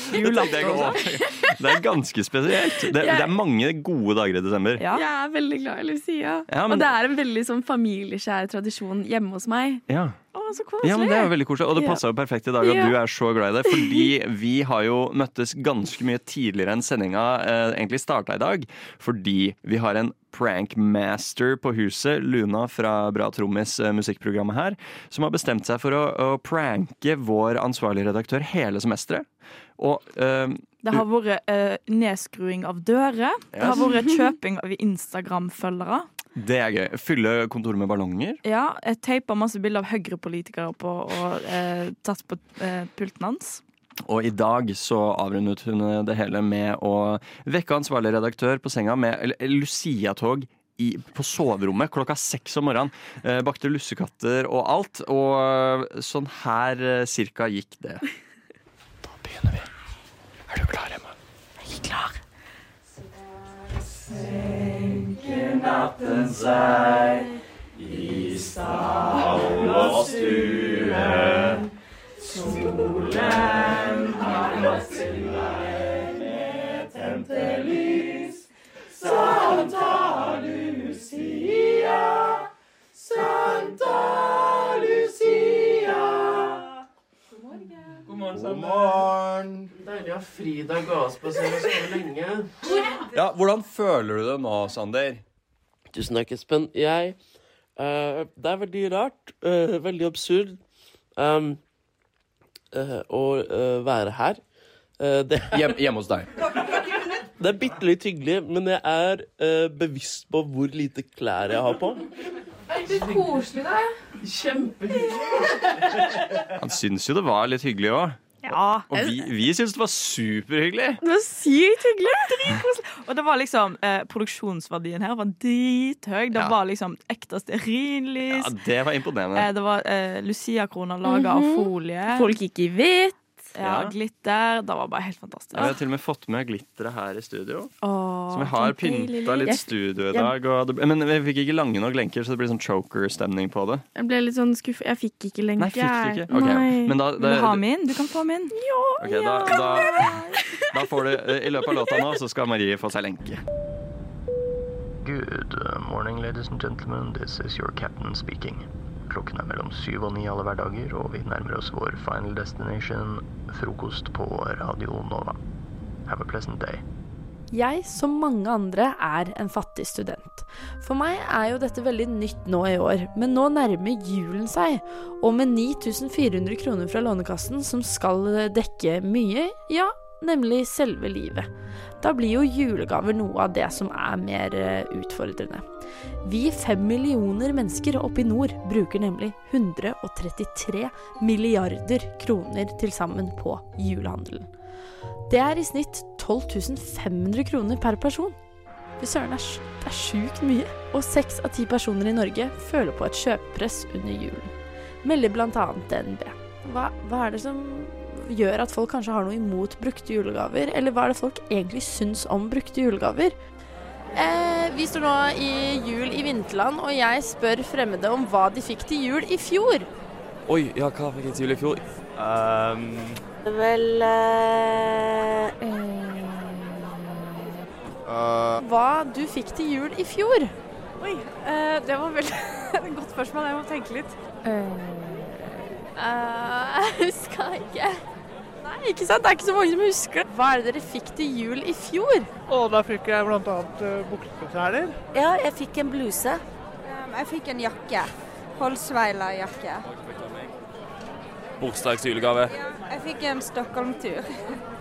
S3: Det
S1: julaften?
S3: går
S1: og sånn?
S3: over. Det er ganske spesielt. Det, det er mange gode dager i desember.
S6: Jeg er veldig glad i Lucia.
S3: Ja, men-
S6: Og det er en veldig sånn familieskjær tradisjon hjemme hos meg.
S3: Ja.
S6: Å, så koselig!
S3: Ja, men Det er jo veldig koselig, og det
S6: Ja.
S3: passer jo perfekt i dag at
S6: Ja.
S3: du er så glad i det. Fordi vi har jo møttes ganske mye tidligere enn sendinga eh, egentlig starta i dag. Fordi vi har en prankmaster på huset, Luna fra Bra Trommis, eh, musikkprogrammet her, som har bestemt seg for å, å pranke vår ansvarlige redaktør hele semesteret. Og eh,
S1: Det har vært eh, nedskruing av dører. Det har
S3: Yes.
S1: vært kjøping av Instagram-følgere.
S3: det er gøy. Fylle kontoret med ballonger.
S1: Ja, jeg teipa masse bilder av Høyre-politikere på og eh, tatt på eh, pulten hans.
S3: Og i dag så avrundet hun eh, det hele med å vekke ansvarlig redaktør på senga med eller, Lucia-tog i, på soverommet klokka seks om morgenen. Eh, bakte lussekatter og alt. Og sånn her eh, cirka gikk det.
S12: Er du klar, Emma? Jeg er ikke klar.
S13: Senker natten seg i stall og stue. Solen har gått sin vei med tente lys. Santa Lucia, Santa Lucia.
S15: God morgen,
S13: God
S15: morgen. Deilig å ha fridag ga oss på så lenge.
S3: Ja, Hvordan føler du det nå, Sander?
S15: Tusen takk, Espen. Jeg eh, Det er veldig rart. eh, veldig absurd. em, eh, å eh, være her. Eh, det
S3: hjemme hos deg.
S15: Det er bitte litt hyggelig, men jeg er eh, bevisst på hvor lite klær jeg har på.
S6: Det er koselig, da.
S15: Kjempehyggelig.
S3: Han syns jo det var litt hyggelig òg.
S1: Ja.
S3: Og vi, vi syns det var superhyggelig.
S1: Det var sykt hyggelig! Dritkoselig. Og det var liksom, eh, produksjonsverdien her var drithøy. Det
S3: Ja.
S1: var liksom ekte stearinlys.
S3: Ja, det var imponerende.
S1: Eh, det var eh, Lucia-kroner laga
S6: Mhm.
S1: av folie.
S6: Folk gikk i hvitt.
S1: Ja,
S16: Ja.
S1: glitter. Det var bare helt fantastisk.
S16: Jeg har til og med fått med glitteret her i studio.
S1: Åh,
S16: Som vi har
S1: den deilige
S16: pynta litt
S1: lyd.
S16: studio i dag. Og det, men vi fikk ikke lange nok lenker, så det blir sånn choker-stemning på det.
S5: Jeg ble litt sånn skuffet. Jeg fikk ikke lenke.
S16: Nei, fikk du ikke?
S5: jeg.
S16: Ok,
S5: Nei.
S16: men da-
S1: Vil
S16: det-
S1: du ha min? Du kan få min.
S16: Ok, da, da, da får du I løpet av låta nå så skal Marie få seg lenke.
S17: Good uh, morning, ladies and gentlemen. This is your captain speaking. Klokken er mellom syv og ni alle hverdager, og vi nærmer oss vår final destination, frokost på Radio Nova. Have a pleasant day.
S18: Jeg, som mange andre, er en fattig student. For meg er jo dette veldig nytt nå i år, men nå nærmer julen seg. Og med 9400 kroner fra Lånekassen, som skal dekke mye, ja, nemlig selve livet. Da blir jo julegaver noe av det som er mer eh, utfordrende. Vi fem millioner mennesker oppe i nord bruker nemlig 133 milliarder kroner til sammen på julehandelen. Det er i snitt 12 500 kroner per person. Fy søren, det er sj- det er sjukt mye. Og seks av ti personer i Norge føler på et kjøpepress under julen. Melder bl.a. DNB. Hva, hva er det som gjør at folk kanskje har noe imot brukte julegaver? Eller hva er det folk egentlig syns om brukte julegaver?
S6: Eh, vi står nå i jul i vinterland, og jeg spør fremmede om hva de fikk til jul i fjor.
S19: Oi, ja, hva fikk jeg til jul i fjor? Ehm,
S6: Vel
S19: eh,
S6: Hva du fikk til jul i fjor?
S20: Oi, eh, det var veldig et godt spørsmål. Jeg må tenke litt.
S6: Eh.
S20: Eh,
S6: Jeg huska ikke. Nei, ikke sant? Det er ikke så mange som husker det. Hva er det dere fikk til jul i fjor?
S21: Og da fikk jeg bl.a. bukseseler.
S22: Ja, jeg fikk en bluse. jeg fikk en jakke. Holsweiler-jakke.
S19: Bursdagsjulegave.
S22: Jeg fikk en Stockholm-tur.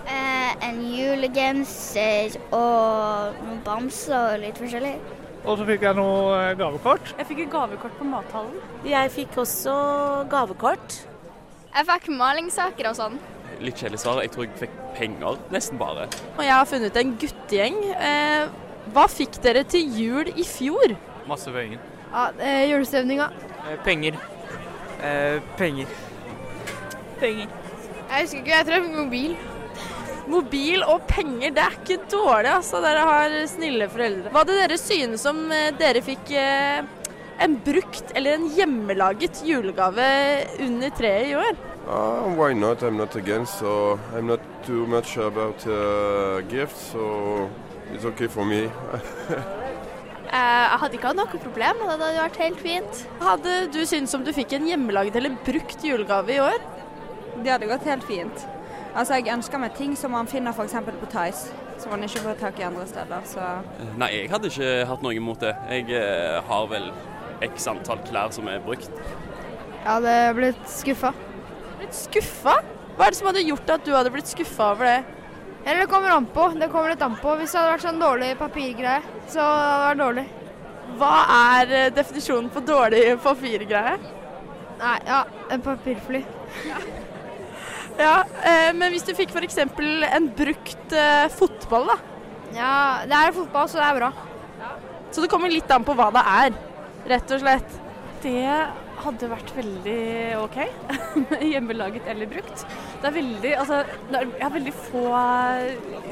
S23: Eh, en julegenser og noen bamser og litt forskjellig.
S21: Og så fikk jeg noe eh, gavekort.
S20: Jeg fikk et gavekort på mathallen.
S23: Jeg fikk også gavekort. Jeg fikk malingssaker og sånn.
S19: Litt kjedelig svar. Jeg tror jeg fikk penger, nesten bare.
S6: Og jeg har funnet en guttegjeng. Eh, hva fikk dere til jul i fjor?
S19: Masse penger.
S6: Ja, eh, Julestemninga.
S3: Eh,
S19: Penger. penger.
S6: Penger. Jeg husker ikke, jeg tror jeg fikk mobil. Mobil og penger, det er ikke dårlig, altså. Dere har snille foreldre. Hva hadde dere synes om eh, dere fikk eh, en brukt eller en hjemmelaget julegave under treet i år?
S24: Uh, why not? I'm not against, so I'm not too much about uh, gifts, so it's okay for me.
S6: Eh, Jeg hadde ikke hatt noe problem, det hadde vært helt fint. Hadde du syntes om du fikk en hjemmelaget eller brukt julegave i år?
S22: Det hadde gått helt fint. Altså, jeg ønsker meg ting som man finner f.eks. på Tice, som man ikke får tak i andre steder. Så
S19: Eh, Nei, jeg hadde ikke hatt noe imot det. Jeg eh, har vel x antall klær som er brukt.
S6: Jeg hadde blitt skuffa. Blitt skuffa? Hva er det som hadde gjort at du hadde blitt skuffa over det?
S25: Eller det kommer an på. Det kommer litt an på. Hvis det hadde vært sånn dårlig papirgreie, så hadde det vært dårlig.
S6: Hva er eh, definisjonen på dårlig papirgreie?
S25: Nei, ja, en papirfly.
S6: Ja, eh, men hvis du fikk f.eks. en brukt eh, fotball, da? Ja, det er fotball, så det er bra. Så det kommer litt an på hva det er, rett og slett.
S20: Det hadde vært veldig OK. Hjemmelaget eller brukt. Det er veldig Altså, det er, jeg har veldig få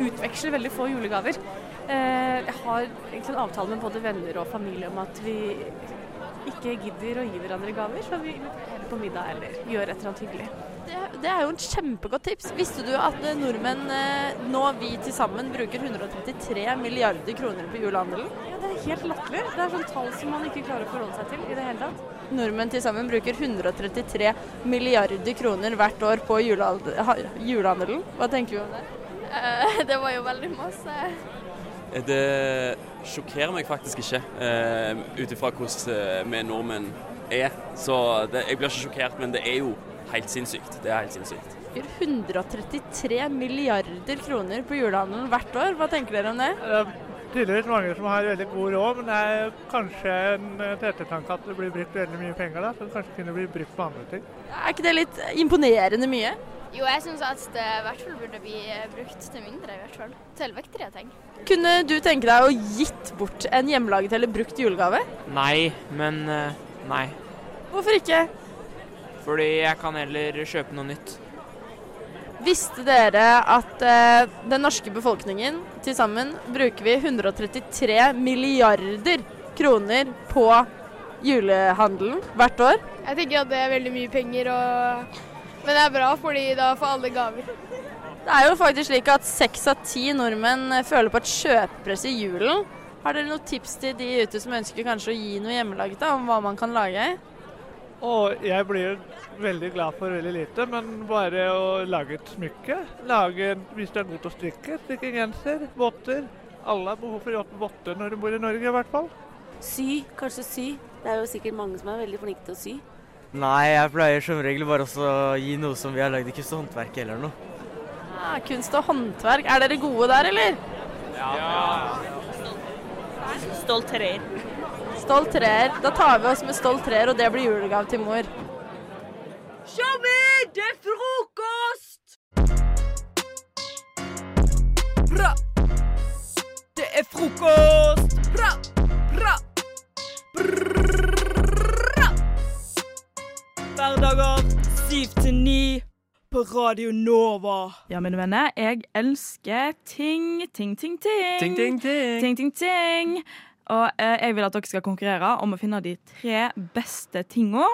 S20: Utveksler veldig få julegaver. Eh, jeg har egentlig en avtale med både venner og familie om at vi ikke gidder å gi hverandre gaver, så vi inviterer heller på middag eller gjør et eller annet hyggelig.
S6: Det, det er jo et kjempegodt tips. Visste du at eh, nordmenn eh, nå vi til sammen bruker 133 milliarder kroner på julehandelen?
S20: Ja, det er helt latterlig. Det er sånn tall som man ikke klarer å forholde seg til i det hele tatt.
S6: Nordmenn til sammen bruker 133 milliarder kroner hvert år på julehal- ha- julehandelen. Hva tenker du om det?
S23: Eh, det var jo veldig masse.
S19: Eh, Det sjokkerer meg faktisk ikke, uh, ut ifra hvordan eh, vi nordmenn er. Så det, jeg blir ikke sjokkert, men det er jo helt sinnssykt. Det er helt sinnssykt.
S6: Bruker 133 milliarder kroner på julehandelen hvert år. Hva tenker dere om det?
S21: Det er tydeligvis mange som har veldig god råd, men det er kanskje en eh, til ettertanke at det blir brukt veldig mye penger da, som kanskje kunne bli brukt på andre ting.
S6: Er ikke det litt imponerende mye?
S23: Jo, jeg syns at det i hvert fall burde bli brukt til mindre, i hvert fall. Til viktigere ting.
S6: Kunne du tenke deg å gitt bort en hjemmelaget eller brukt julegave?
S26: Nei, men eh, nei.
S6: Hvorfor ikke?
S26: Fordi jeg kan heller kjøpe noe nytt.
S18: Visste dere at eh, den norske befolkningen til sammen bruker vi 133 milliarder kroner på julehandelen hvert år?
S25: Jeg tenker at det er veldig mye penger, og... men det er bra, fordi da får alle gaver.
S18: Det er jo faktisk slik at seks av ti nordmenn føler på et kjøpepress i julen. Har dere noen tips til de ute som ønsker kanskje å gi noe hjemmelaget da, om hva man kan lage?
S21: Og jeg blir veldig glad for veldig lite, men bare å lage et smykke. Lage, en- hvis du er god til å strikke, strikke genser, votter. Alle har behov for å jobbe votter når du bor i Norge, i hvert fall.
S2: Sy, kanskje sy. Det er jo sikkert mange som er veldig flinke til å sy.
S3: Nei, jeg pleier som regel bare også å gi noe som vi har lagd i kunst og håndverk eller noe.
S18: Ah, kunst og håndverk, er dere gode der, eller?
S4: Stolt treer.
S18: Stolt treer. Da tar vi oss med stolt treer, og det blir julegave til mor.
S27: Tommy, det er frokost!
S9: Bra! Det er frokost! Bra! Bra! Bra!
S4: Hverdager 7 til 9 på Radio Nova.
S1: Ja, mine venner, jeg elsker ting, ting, ting, ting.
S4: Ting, ting, ting.
S1: Ting, ting, ting. Og eh, jeg vil at dere skal konkurrere om å finne de tre beste tinga.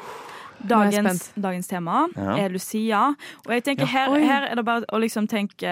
S18: Nå er jeg
S1: Dagens, dagens tema
S18: Ja.
S1: er Lucia. Og jeg tenker
S18: Ja.
S1: her,
S18: Oi.
S1: her er det bare å liksom tenke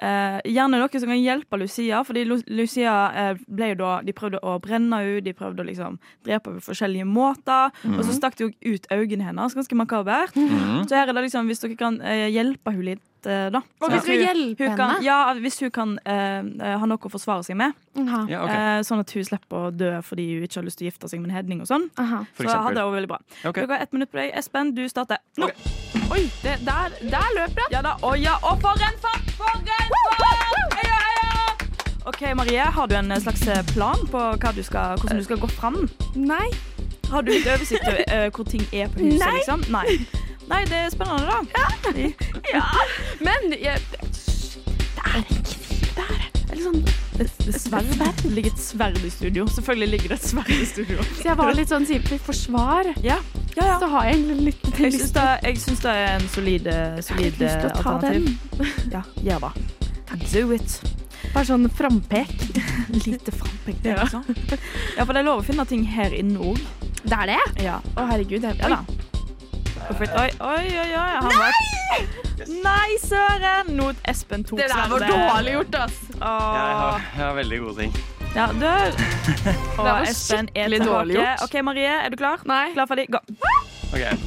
S1: eh, Gjerne dere som kan hjelpe Lucia, fordi Lu- Lucia eh, ble jo da De prøvde å brenne henne, de prøvde å liksom drepe henne på forskjellige måter. Og så
S4: Mhm.
S1: stakk de jo ut øynene hennes, ganske makabert.
S4: Mhm.
S1: Så her er det liksom, hvis dere kan eh, hjelpe henne litt, eh, da.
S4: Og vi skal
S1: Hun-
S4: hjelpe
S1: hun kan,
S4: henne?
S1: Ja, hvis hun kan eh, eh, ha noe å forsvare seg med.
S9: Mhm.
S4: Ja, ok.
S1: Eh, sånn at hun slipper å dø fordi hun ikke har lyst til å gifte seg med en hedning og sånn.
S4: For
S1: Så
S4: eksempel.
S1: hadde det vært veldig bra.
S4: Ok.
S1: Dere har ett minutt på deg. Espen, du starter nå.
S4: Oi, det, der, der løp jeg.
S1: Ja da, å ja, og for en fart, for en fart! Heia, heia! OK, Marie, har du en eh, slags plan på hva du skal, hvordan du skal gå fram?
S9: Nei.
S1: Har du litt oversikt over eh, hvor ting er på huset,
S9: Nei.
S1: liksom? Nei. Nei, det er spennende, da.
S9: Ja, men jeg, Det er en kniv der. Eller sånn.
S1: Det er liksom- sverd. Det ligger et sverd i studio. Selvfølgelig ligger det et sverd i studio.
S9: Så jeg var litt sånn type i forsvar. Så har jeg egentlig litt
S1: Jeg syns det, jeg syns det er en solid, eh, solid
S9: lyst til å
S1: eh,
S9: ta
S1: alternativ. Ja, gjør det. Do it.
S9: Bare sånn frampek.
S1: Lite frampek der, altså. Ja, for det er lov å finne ting her inne òg.
S9: Det er det?
S1: Ja.
S9: Å, herregud. Jeg,
S1: Ja da. Oi, oi, oi. oi, oi. Han Nei! Nei, søren! Nå Espen tok
S9: Det der var
S1: sverdet.
S9: dårlig gjort, ass.
S1: Åh.
S3: Jeg har, jeg har veldig gode ting.
S1: Ja, dør.
S9: var
S1: Og Espen er
S9: skikkelig dårlig
S1: tilbake.
S9: gjort.
S1: OK, Marie, er du klar? Nei. Klar, ferdig, gå.
S3: Ok.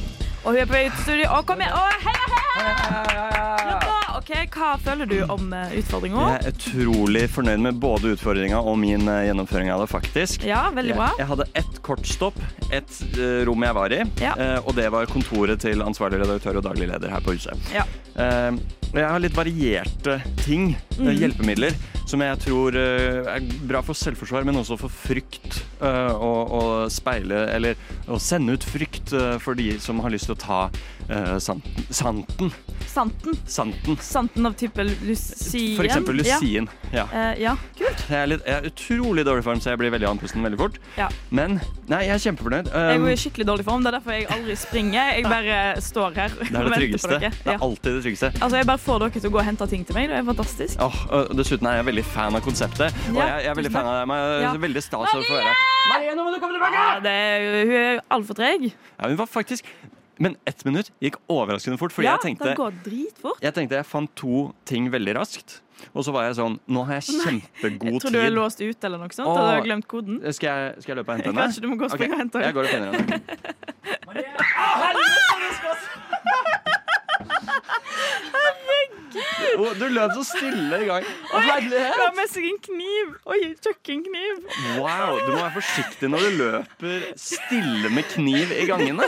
S1: Og hun er på vei ut i studio. Å, kom igjen! Å, heia, heia! Ja da. OK, hva føler du om eh, utfordringa?
S3: Jeg er utrolig fornøyd med både utfordringa og min eh, gjennomføring av det, faktisk.
S1: Ja, veldig bra.
S3: Jeg, jeg hadde ett kortstopp, ett eh, rom jeg var i,
S1: Ja.
S3: eh, og det var kontoret til ansvarlig redaktør og daglig leder her på huset.
S1: Ja.
S3: Eh, og jeg har litt varierte ting, eh,
S4: Mhm.
S3: hjelpemidler, som jeg tror eh, er bra for selvforsvar, men også for frykt. eh, og, og speile, eller å sende ut frykt eh, for de som har lyst til å ta eh, sant, santen.
S1: Santen.
S3: Santen.
S1: Santen av type Lucien.
S3: For eksempel
S1: Ja.
S3: Lucien. Ja.
S1: Eh, ja. Kult.
S3: Jeg er, litt, jeg er utrolig dårlig form, så jeg blir veldig andpusten veldig fort.
S1: Ja.
S3: Men nei, jeg er kjempefornøyd.
S1: Jeg
S3: Um,
S1: er jo i skikkelig dårlig form. Det er derfor jeg aldri springer. Jeg bare står her.
S3: det
S1: og
S3: er det
S1: venter på
S3: tryggeste.
S1: dere.
S3: Det
S1: Ja.
S3: er alltid det tryggeste.
S1: Altså, jeg bare får dere til å gå og hente ting til meg. Det er fantastisk.
S3: Åh, og dessuten er jeg veldig fan av konseptet. Og
S1: Ja,
S3: jeg, jeg er veldig
S1: tusen
S3: fan av deg. men jeg er
S1: Ja.
S3: Veldig stas over å få være her.
S1: Marie, nå må du komme tilbake! Ja, det er, hun er altfor treg.
S3: Ja, hun var faktisk Men ett minutt gikk overraskende fort, fordi
S1: ja, det
S3: jeg tenkte
S1: går dritfort.
S3: jeg tenkte jeg fant to ting veldig raskt. Og så var jeg sånn Nå har jeg
S1: Nei.
S3: kjempegod
S1: Jeg tror du er
S3: tid.
S1: låst ute eller noe sånt. Og du har
S3: Åh.
S1: glemt koden.
S3: Skal jeg, skal jeg løpe og hente henne?
S1: Kanskje du må gå og
S3: Ok,
S1: springe og hente henne.
S3: Jeg går og finner henne.
S1: Herregud!
S3: Å, Du løp så stille i gang. Å,
S1: Oi,
S3: herlighet!
S1: Hun har med seg en kniv. Oi, kjøkkenkniv.
S3: Wow, du må være forsiktig når du løper stille med kniv i gangene.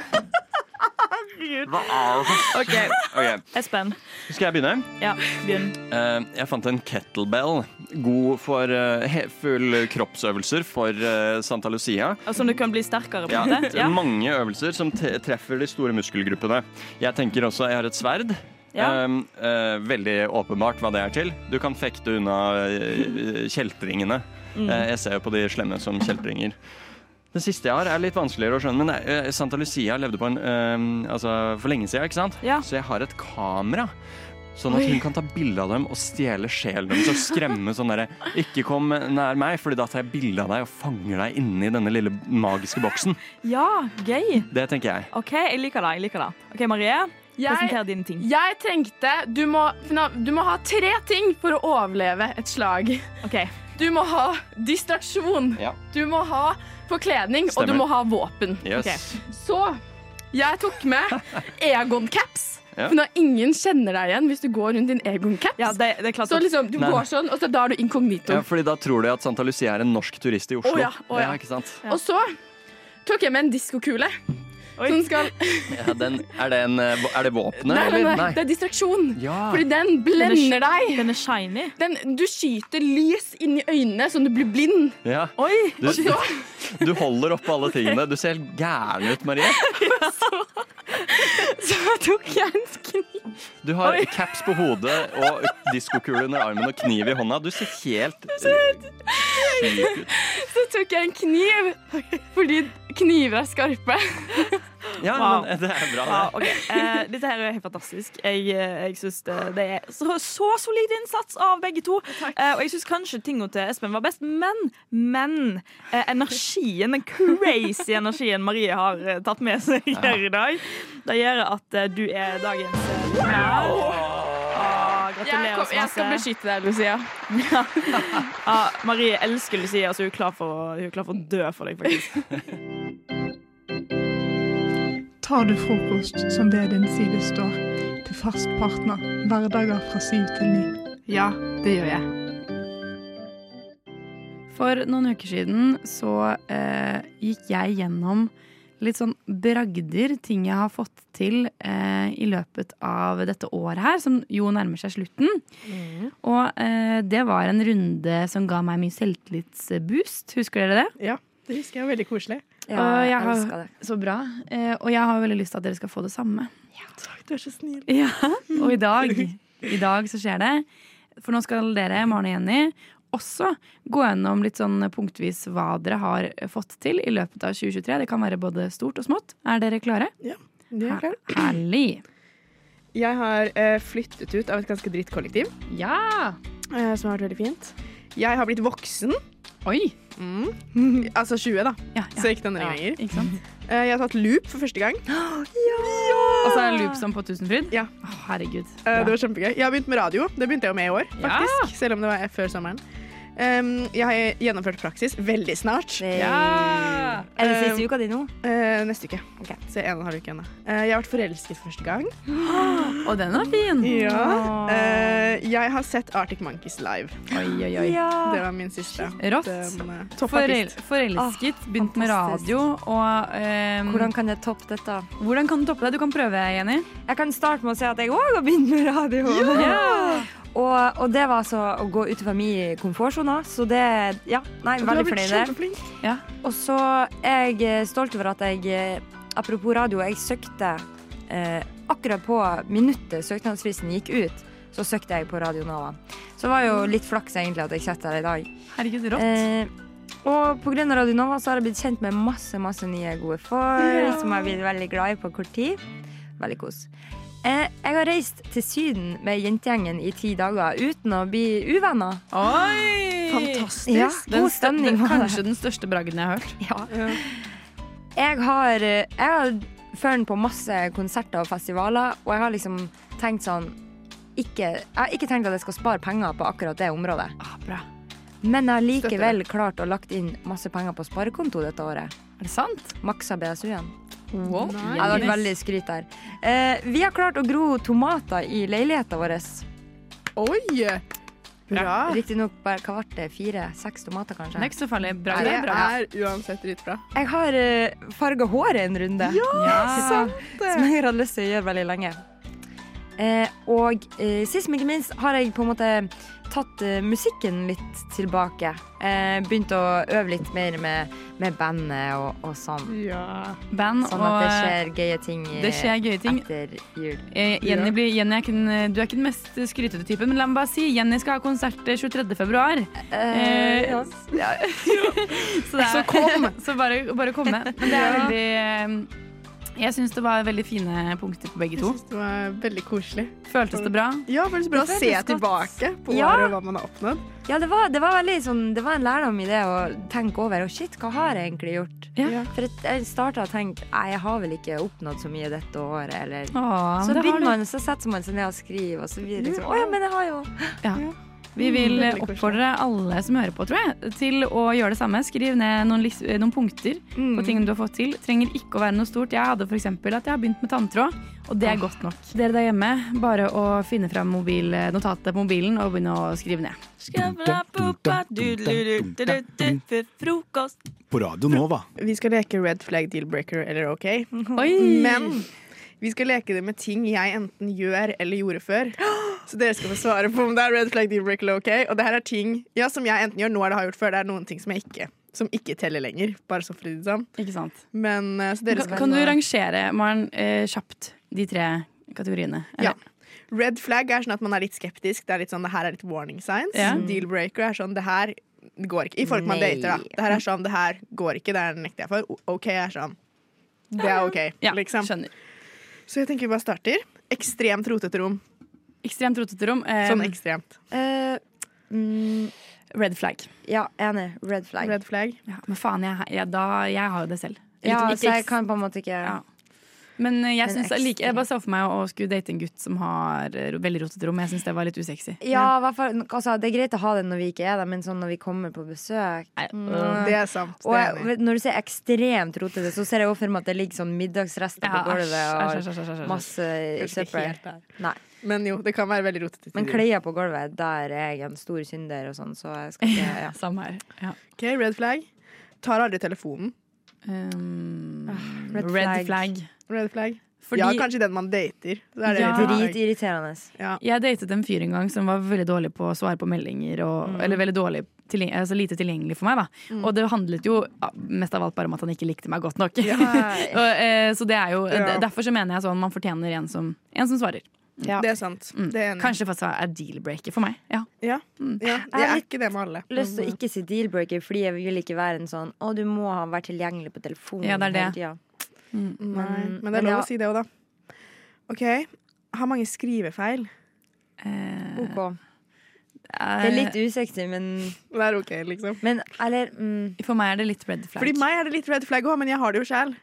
S1: Herregud.
S3: Hva er det for
S1: OK,
S3: Ok,
S1: Espen.
S3: Skal jeg begynne?
S1: Ja, begynn.
S3: Eh, jeg fant en kettlebell. God for eh, he- full kroppsøvelser for eh, Santa Lucia.
S1: Altså, du kan bli sterkere på
S3: Ja,
S1: det? Ja.
S3: Mange øvelser som te- treffer de store muskelgruppene. Jeg tenker også jeg har et sverd.
S1: Ja.
S3: Um, eh, veldig åpenbart hva det er til. Du kan fekte unna eh, kjeltringene.
S4: Mm.
S3: Eh, jeg ser jo på de slemme som kjeltringer. Det siste jeg har, er litt vanskeligere å skjønne, men det er- eh, Santa Lucia levde på en, eh, altså for lenge siden, ikke sant?
S1: Ja.
S3: Så jeg har et kamera. Sånn at hun kan ta bilde av dem og stjele sjelen deres og skremme sånn derre Ikke kom nær meg, fordi da tar jeg bilde av deg og fanger deg inni denne lille magiske boksen.
S1: Ja, gøy.
S3: Det tenker jeg.
S1: OK, jeg liker det. Jeg liker det. OK, Marie. Presenter dine ting.
S6: Jeg trengte du må, du må ha tre ting for å overleve et slag.
S1: Ok.
S6: Du må ha distraksjon.
S3: Ja.
S6: Du må ha forkledning, og
S3: Stemmer.
S6: du må ha våpen.
S3: Yes.
S6: Ok. Så jeg tok med Egon-caps.
S3: Ja.
S6: For når ingen kjenner deg igjen hvis du går rundt din Egon-caps.
S1: Ja, det, det er klart
S6: så
S1: at-
S6: liksom, du
S3: Nei.
S6: går sånn, og så da er du inkognito.
S3: Ja, fordi da tror de at Santa Lucia er en norsk turist i Oslo.
S6: Å ja, å ja.
S3: ikke sant?
S6: Og så tok jeg med en diskokule. Som skal
S3: Ja, den, er, det en, eh, er det våpenet,
S6: nei, nei,
S3: eller?
S6: nei, det er distraksjon.
S3: Ja.
S6: Fordi den blender deg.
S1: Den er shiny.
S6: Den, du skyter lys inn i øynene sånn du blir blind.
S3: Ja.
S1: Oi!
S3: Du, du holder oppe alle tingene. Du ser helt gæren ut, Marie.
S6: Så tok jeg en kniv.
S3: Du har caps på hodet og diskokule under armen og kniv i hånda. Du ser helt syk ut.
S6: Så tok jeg en kniv, fordi kniver er skarpe.
S3: Ja,
S1: Wow.
S3: men det er bra.
S1: Ja,
S3: det.
S1: ok. Eh, dette her er helt fantastisk. Jeg, eh, jeg syns det, det er så, så solid innsats av begge to. Eh, og jeg syns kanskje tinga til Espen var best, men, men eh, energien, den crazy energien Marie har eh, tatt med seg her i dag, det gjør at eh, du er dagens eh, Ah,
S6: Jeg,
S1: Gratulerer
S6: kom,
S1: så
S6: jeg skal
S1: masse.
S6: beskytte deg, Lucia.
S1: Ah, Marie elsker Lucia, så hun er, klar for, å- hun er klar for å dø for deg, faktisk.
S8: Tar du frokost som det din side står, til fast partner hverdager fra syv til ni?
S11: Ja, det gjør jeg. For noen uker siden så eh, gikk jeg gjennom litt sånn bragder, ting jeg har fått til eh, i løpet av dette året her, som jo nærmer seg slutten.
S6: Mm.
S11: Og eh, det var en runde som ga meg mye selvtillitsboost. Husker dere det?
S28: Ja, det husker jeg. Veldig koselig.
S11: Og jeg har- Så bra. Eh, og jeg har jo veldig lyst til at dere skal få det samme.
S28: Takk, du er så snill.
S11: Ja, og i dag, i dag så skjer det. For nå skal dere, Maren og Jenny, også gå gjennom litt sånn punktvis hva dere har fått til i løpet av 2023. Det kan være både stort og smått. Er dere klare?
S28: Ja, det er klart.
S11: Herlig.
S28: Jeg har eh, flyttet ut av et ganske dritt kollektiv.
S11: Ja!
S28: Eh, som har vært veldig fint. Jeg har blitt voksen.
S11: Oi!
S28: Mm. altså 20, da. Så ikke den
S11: Ja,
S28: lenger.
S11: ikke sant?
S28: Eh, jeg har tatt loop for første gang.
S11: Altså er det loop som på Tusenfryd?
S28: Ja.
S11: Å, herregud.
S28: Eh,
S11: Bra.
S28: det var kjempegøy. Jeg har begynt med radio. Det begynte jeg jo med i år, faktisk. Selv om det var eh, før sommeren. Um, jeg har gjennomført praksis veldig snart.
S11: Ja!
S28: Um,
S12: Er det siste uka di nå?
S28: eh, neste uke. Så en og en halv uke igjen. da. Eh, jeg har vært forelsket for første gang.
S11: Og den var fin.
S28: Ja. Eh, jeg har sett Arctic Monkeys live.
S11: Oi, oi, oi. Ja.
S28: Det var min siste.
S11: Rått.
S28: Den, eh,
S11: Forel
S28: toppartist.
S11: forelsket, begynt med radio og
S12: Hvordan
S11: kan jeg toppe dette? Hvordan kan Du toppe det? Du kan prøve, Jenny.
S12: Jeg kan starte med å si at jeg òg har begynt med radio.
S11: Ja!
S12: Og, og det var altså å gå utenfor min komfortsone, så det Ja, nei,
S11: Så du har
S12: veldig
S11: blitt
S12: fornøyd. der.
S11: kjempeflink. Ja.
S12: Og så er jeg eh, stolt over at jeg eh, Apropos radio, jeg søkte eh, akkurat på minuttet søknadsfristen gikk ut, så søkte jeg på Radio Nova. Så det var jo litt flaks egentlig at jeg sitter her i dag.
S11: Mm. Herregud, rått.
S12: Eh, og på grunn av Radio Nova så har jeg blitt kjent med masse, masse nye gode folk
S11: Ja.
S12: som jeg har blitt veldig glad i på kort tid. Veldig kos. Eh, jeg har reist til Syden med jentegjengen i ti dager uten å bli uvenner.
S11: Oi!
S12: Fantastisk. Ja,
S11: Den
S12: god
S11: stø-
S12: stemning.
S11: den-
S12: var det.
S11: Kanskje den største bragden jeg har hørt.
S12: Jeg har, eh, jeg har føren på masse konserter og festivaler, og jeg har liksom tenkt sånn ikke, Jeg har ikke tenkt at jeg skal spare penger på akkurat det området.
S11: Ah,
S12: Men jeg har likevel klart å lagt inn masse penger på sparekonto dette året.
S11: Er det sant?
S12: Maksa BSU-en.
S11: Wow.
S12: Jeg har vært veldig skryt der. Eh, vi har klart å gro tomater i leiligheten vår.
S28: Oi! Bra.
S12: Riktignok bare hva ble det? Fire-seks tomater, kanskje?
S11: Det er ikke så farlig. Bra,
S12: Nei,
S11: det er bra.
S28: er uansett dritbra.
S12: Jeg har uh, farga håret en runde.
S11: Ja, sant
S12: Som jeg har hatt lyst til å gjøre veldig lenge. Eh, og eh, sist, men ikke minst, har jeg på en måte tatt eh, musikken litt tilbake. Eh, begynt å øve litt mer med, med bandet og, og sånn.
S11: Band
S12: Sånn
S11: og
S12: at det skjer gøye ting, eh,
S11: det skjer gøye ting.
S12: etter jul.
S11: Eh, Jenny, blir, Jenny er ikke den, eh, du er ikke den mest skrytete typen, men la meg bare si Jenny skal ha konsert 23. februar.
S12: Eh, ja.
S11: så, det er, så kom! Så bare, bare komme. Men det er veldig eh, Jeg syns det var veldig fine punkter på begge to.
S28: Det var veldig koselig.
S11: Føltes det bra?
S28: Ja, det føltes bra å se tilbake på
S12: Ja.
S28: året og hva man har oppnådd.
S12: Ja, det var, det var veldig sånn Det var en lærdom i det å tenke over Og shit, hva har jeg egentlig gjort? For at jeg starta å tenke Nei, jeg har vel ikke oppnådd så mye dette året, eller
S11: Åh, men
S12: Så
S11: det har
S12: begynner
S11: du.
S12: man, så setter man seg ned og skriver, og så blir det liksom Å ja, men jeg har jo
S11: Ja. Vi vil oppfordre alle som hører på, tror jeg, til å gjøre det samme. Skriv ned noen, lis- eh, noen punkter
S28: Mm.
S11: på ting du har fått til. Trenger ikke å være noe stort. Jeg hadde f.eks. at jeg har begynt med tanntråd, og det er godt nok. Dere der hjemme, bare å finne fram mobil, eh, notatet på mobilen og begynne å skrive ned.
S1: Frokost.
S29: På Radio Nova.
S28: Vi skal leke red flag deal-breaker eller OK.
S11: Oi!
S28: Men vi skal leke det med ting jeg enten gjør eller gjorde før. Så dere skal få svare på om det er red flag deal-breaker eller OK. Og det her er ting ja, som jeg enten gjør nå eller har gjort før. Det er noen ting som jeg ikke som ikke teller lenger. Bare sånn for å si det sånn.
S11: Ikke sant.
S28: Men eh, så dere
S11: Kan,
S28: skal
S11: kan du rangere, Maren, eh, kjapt de tre kategoriene?
S28: Ja. Red flag er sånn at man er litt skeptisk. Det er litt sånn, det her er litt warning signs.
S11: Ja.
S28: Deal breaker er sånn, det her går ikke. I folk man
S11: Nei.
S28: dater, da. Det her er sånn, det her går ikke. Det her nekter jeg for. O- OK er sånn. Det er OK, liksom. Så jeg tenker vi bare starter. Ekstremt rotete rom.
S11: Ekstremt rotete rom. eh,
S28: Sånn ekstremt.
S11: Red flag.
S12: Eh, mm, Ja, enig. Red flag.
S28: Red flag.
S11: Ja, men faen, jeg, jeg, da, jeg har jo det selv.
S12: Ja,
S11: Ikke- ikke
S12: så jeg
S11: eks-
S12: kan på en måte ikke
S11: Men eh, jeg,
S12: Men
S11: synes,
S12: eks-
S11: like, jeg bare så for meg å å skulle date en gutt som har eh, veldig rotete rom. Jeg syns det var litt usexy.
S12: Ja, i hvert fall, altså, det er greit å ha det når vi ikke er der, men sånn når vi kommer på besøk mm,
S28: øh. Det er sant, det er
S12: Og jeg,
S28: enig.
S12: når du ser ekstremt rotete, så ser jeg også for meg at det ligger sånn middagsrester
S28: Ja,
S12: på gulvet
S28: æsj,
S12: og
S28: æsj, æsj, æsj, æsj, æsj.
S12: masse
S28: Kanskje ikke helt
S12: søppel.
S28: der.
S12: Nei.
S28: Men jo, det kan være veldig rotete. til
S12: Men
S28: tider.
S12: klær på gulvet, der er jeg en stor synder og sånn, så jeg skal ikke ja.
S11: Samme her. Ja.
S28: OK, red flag. Tar aldri telefonen.
S11: Ah, red Ehm, red flag. flag.
S28: Red flag.
S11: Fordi-
S28: Ja, kanskje den man dater. Så er det
S11: Ja.
S28: red flag.
S12: irriterende.
S28: Ja.
S11: Jeg datet en fyr en gang som var veldig dårlig på å svare på meldinger. Og, Eller veldig dårlig tilgjeng- altså lite tilgjengelig for meg. Da.
S28: Mm.
S11: Og det handlet jo ja, mest av alt bare om at han ikke likte meg godt nok.
S28: Ja.
S11: og, eh, så det er jo
S28: Ja.
S11: Derfor så mener jeg sånn man fortjener en som, en som svarer.
S28: Det er sant.
S11: Mm.
S28: Det er enig.
S11: Kanskje faktisk er deal-breaker for meg. Ja.
S28: Ja. ja. Det
S12: Mm. Jeg
S28: er
S12: har litt
S28: ikke det med alle. Mm.
S12: lyst til å
S28: Men,
S12: ikke si deal-breaker, fordi jeg vil ikke være en sånn Å, du må ha vært tilgjengelig på telefonen
S28: Ja, det er det.
S12: hele tida.
S28: Mm, Nei,
S12: Men-
S28: men det er
S12: men
S28: lov
S12: ja.
S28: å si det òg, da. OK. Har mange skrivefeil. Oh,
S12: OK. Det er litt usexy, men
S28: Det er OK, liksom.
S12: Men eller mm.
S11: For meg er det litt red
S28: Fordi meg er det litt red flag òg, men jeg har det jo sjæl.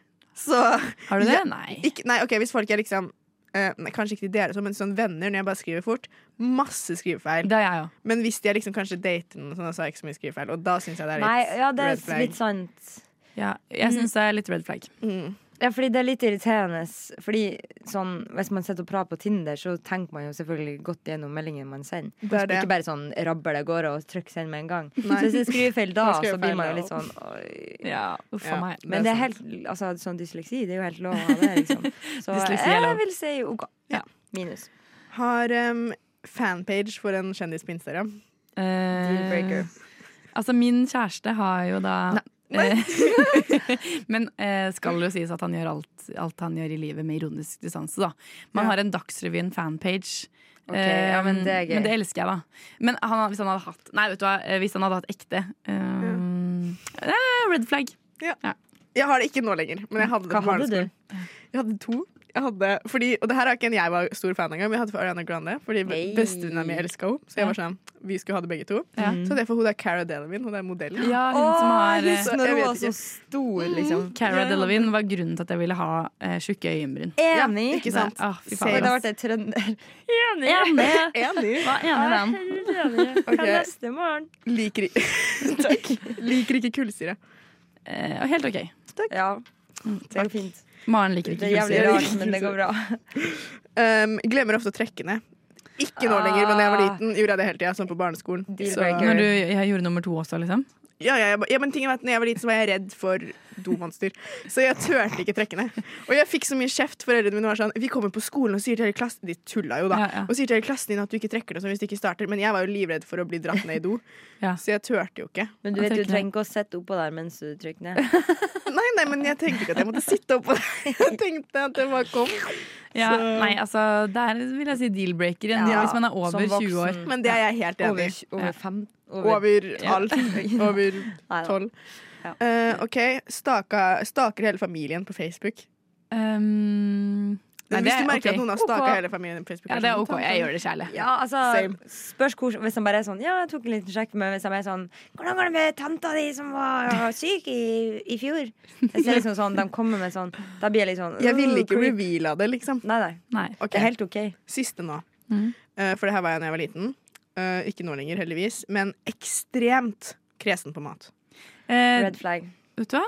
S28: Så
S11: Har du det?
S28: Ja,
S11: Nei.
S28: Ikke, nei, OK, hvis folk er liksom eh, nei, Kanskje ikke dere, så, men sånn venner når jeg bare skriver fort. Masse skrivefeil.
S11: Det er jeg òg.
S28: Men hvis de er liksom kanskje dater noen, sånn, så har jeg ikke så mye skrivefeil. Og da syns jeg det er litt
S12: Nei, ja, det
S28: red
S12: er
S28: flag.
S12: litt sånn- Mm. sant.
S11: Ja, jeg syns det er litt red flag.
S12: Mm. Ja, fordi det er litt irriterende. Fordi sånn, Hvis man sitter og prater på Tinder, så tenker man jo selvfølgelig godt gjennom meldingen man sender.
S28: Det er det.
S12: Ikke bare sånn rabber det går og trykk send med en gang.
S28: Nei.
S12: Så hvis jeg skriver feil da,
S28: Da skriver
S12: så blir
S28: feil
S12: man
S28: da.
S12: jo litt sånn oi.
S11: Ja, uff a meg.
S12: Men det er helt, altså, sånn dysleksi, det er jo helt lov å ha det, liksom. Så
S28: Dysleksi er
S12: jeg
S28: lov.
S12: vil si OK.
S28: Ja.
S12: Minus.
S28: Har em, fanpage for en kjendis på Instagram.
S11: Dealbreaker. Altså, min kjæreste har jo da Men eh, skal det jo sies at han gjør alt, alt han gjør i livet med ironisk distanse, da. Man har en Dagsrevyen-fanpage.
S12: Ok, ja, men det er gøy.
S11: men det elsker jeg, da. Men han, hvis han hadde hatt Nei, vet du hva, eh, hvis han hadde hatt ekte ehm, eh, Red flag.
S28: Ja. Jeg har det ikke nå lenger, men jeg hadde det
S11: Hva
S28: på
S11: hadde du?
S28: barneskolen. Jeg hadde to. Jeg hadde, fordi, og det her er ikke en jeg var stor fan av engang, men jeg hadde for Ariana Grande. Fordi
S11: Hey.
S28: bestevenninna mi elska henne. Så jeg var sånn, vi skulle ha det begge to.
S11: Ja.
S12: Mm.
S28: Så det er for hun der Cara Delevingne, hun er modellen.
S11: Ja, hun som har eh, Mm.
S28: Åh, jeg vet ikke.
S12: stor,
S28: liksom.
S11: Cara
S28: Ja.
S11: Delevingne var grunnen til at jeg ville ha eh, tjukke øyenbryn.
S12: Enig!
S11: Ja, ikke sant?
S12: Det,
S11: Ah, fy
S12: det
S11: faen,
S12: hadde
S11: ass.
S12: vært et trønder.
S11: Enig.
S28: Enig.
S11: Hva er enig i den?
S28: Ok. Liker, i- Takk. Liker ikke kullsyre.
S11: Eh, helt OK.
S28: Takk.
S12: Ja.
S11: Mm,
S12: Det er fint.
S11: Maren liker ikke
S12: Det er jævlig
S11: kullsyre.
S12: rart, men det går bra.
S28: Um, glemmer ofte å trekke ned. Ikke nå lenger, men da jeg var
S12: Ah.
S28: liten, gjorde jeg det hele tida. Sånn på barneskolen. Så-
S11: Når du jeg gjorde nummer to også, liksom?
S28: Ja, ja, jeg, ba- ja, men ting er at når jeg var liten, så var jeg redd for domonster. Så jeg turte ikke trekke ned. Og jeg fikk så mye kjeft. Foreldrene mine var sånn Vi kommer på skolen og sier til hele klassen De tulla jo, da.
S11: Ja, ja.
S28: Og sier til hele klassen din at du ikke trekker det sånn hvis du ikke starter. Men jeg var jo livredd for å bli dratt ned i do,
S11: Ja.
S28: så jeg turte jo ikke.
S12: Men du vet jo, du trenger ikke å sitte oppå der mens du trykker ned.
S28: Nei, nei, men jeg tenkte ikke at jeg måtte sitte oppå der. Jeg tenkte at det bare kom.
S11: Ja,
S28: Så-
S11: nei, altså Der vil jeg si deal-breaker igjen,
S28: Ja,
S11: hvis man er over
S28: som voksen.
S11: 20 år.
S28: Men det er jeg helt enig i.
S12: Over, over fem
S28: Over, alt. Over tolv. Eh, OK. Staka, staker hele familien på Facebook.
S11: Ehm, nei,
S28: Hvis du merker
S11: ok.
S28: at noen har
S11: Ok.
S28: staka hele familien på Facebook,
S11: Ja, det er
S28: kanskje
S11: OK.
S28: du tar
S11: Jeg
S28: den.
S11: gjør det sjæl. jeg.
S12: Ja, altså,
S28: Same.
S12: spørs hvor, Hvis han bare er sånn Ja, jeg tok en liten sjekk, men hvis han er sånn Hvordan går det med tanta di som var syk i, i fjor? Jeg ser liksom sånn, De kommer med sånn Da blir jeg litt sånn
S28: Jeg ville
S12: «Åh,
S28: ikke
S12: creep».
S28: reveala det, liksom.
S12: Nei, nei.
S28: Ok.
S12: Det er helt OK.
S28: Siste nå.
S11: Mm.
S28: Eh, For det her var jeg da jeg var liten. Eh, Ikke nå lenger, heldigvis. Men ekstremt kresen på mat.
S11: Red
S12: flag.
S11: Eh, Vet du hva?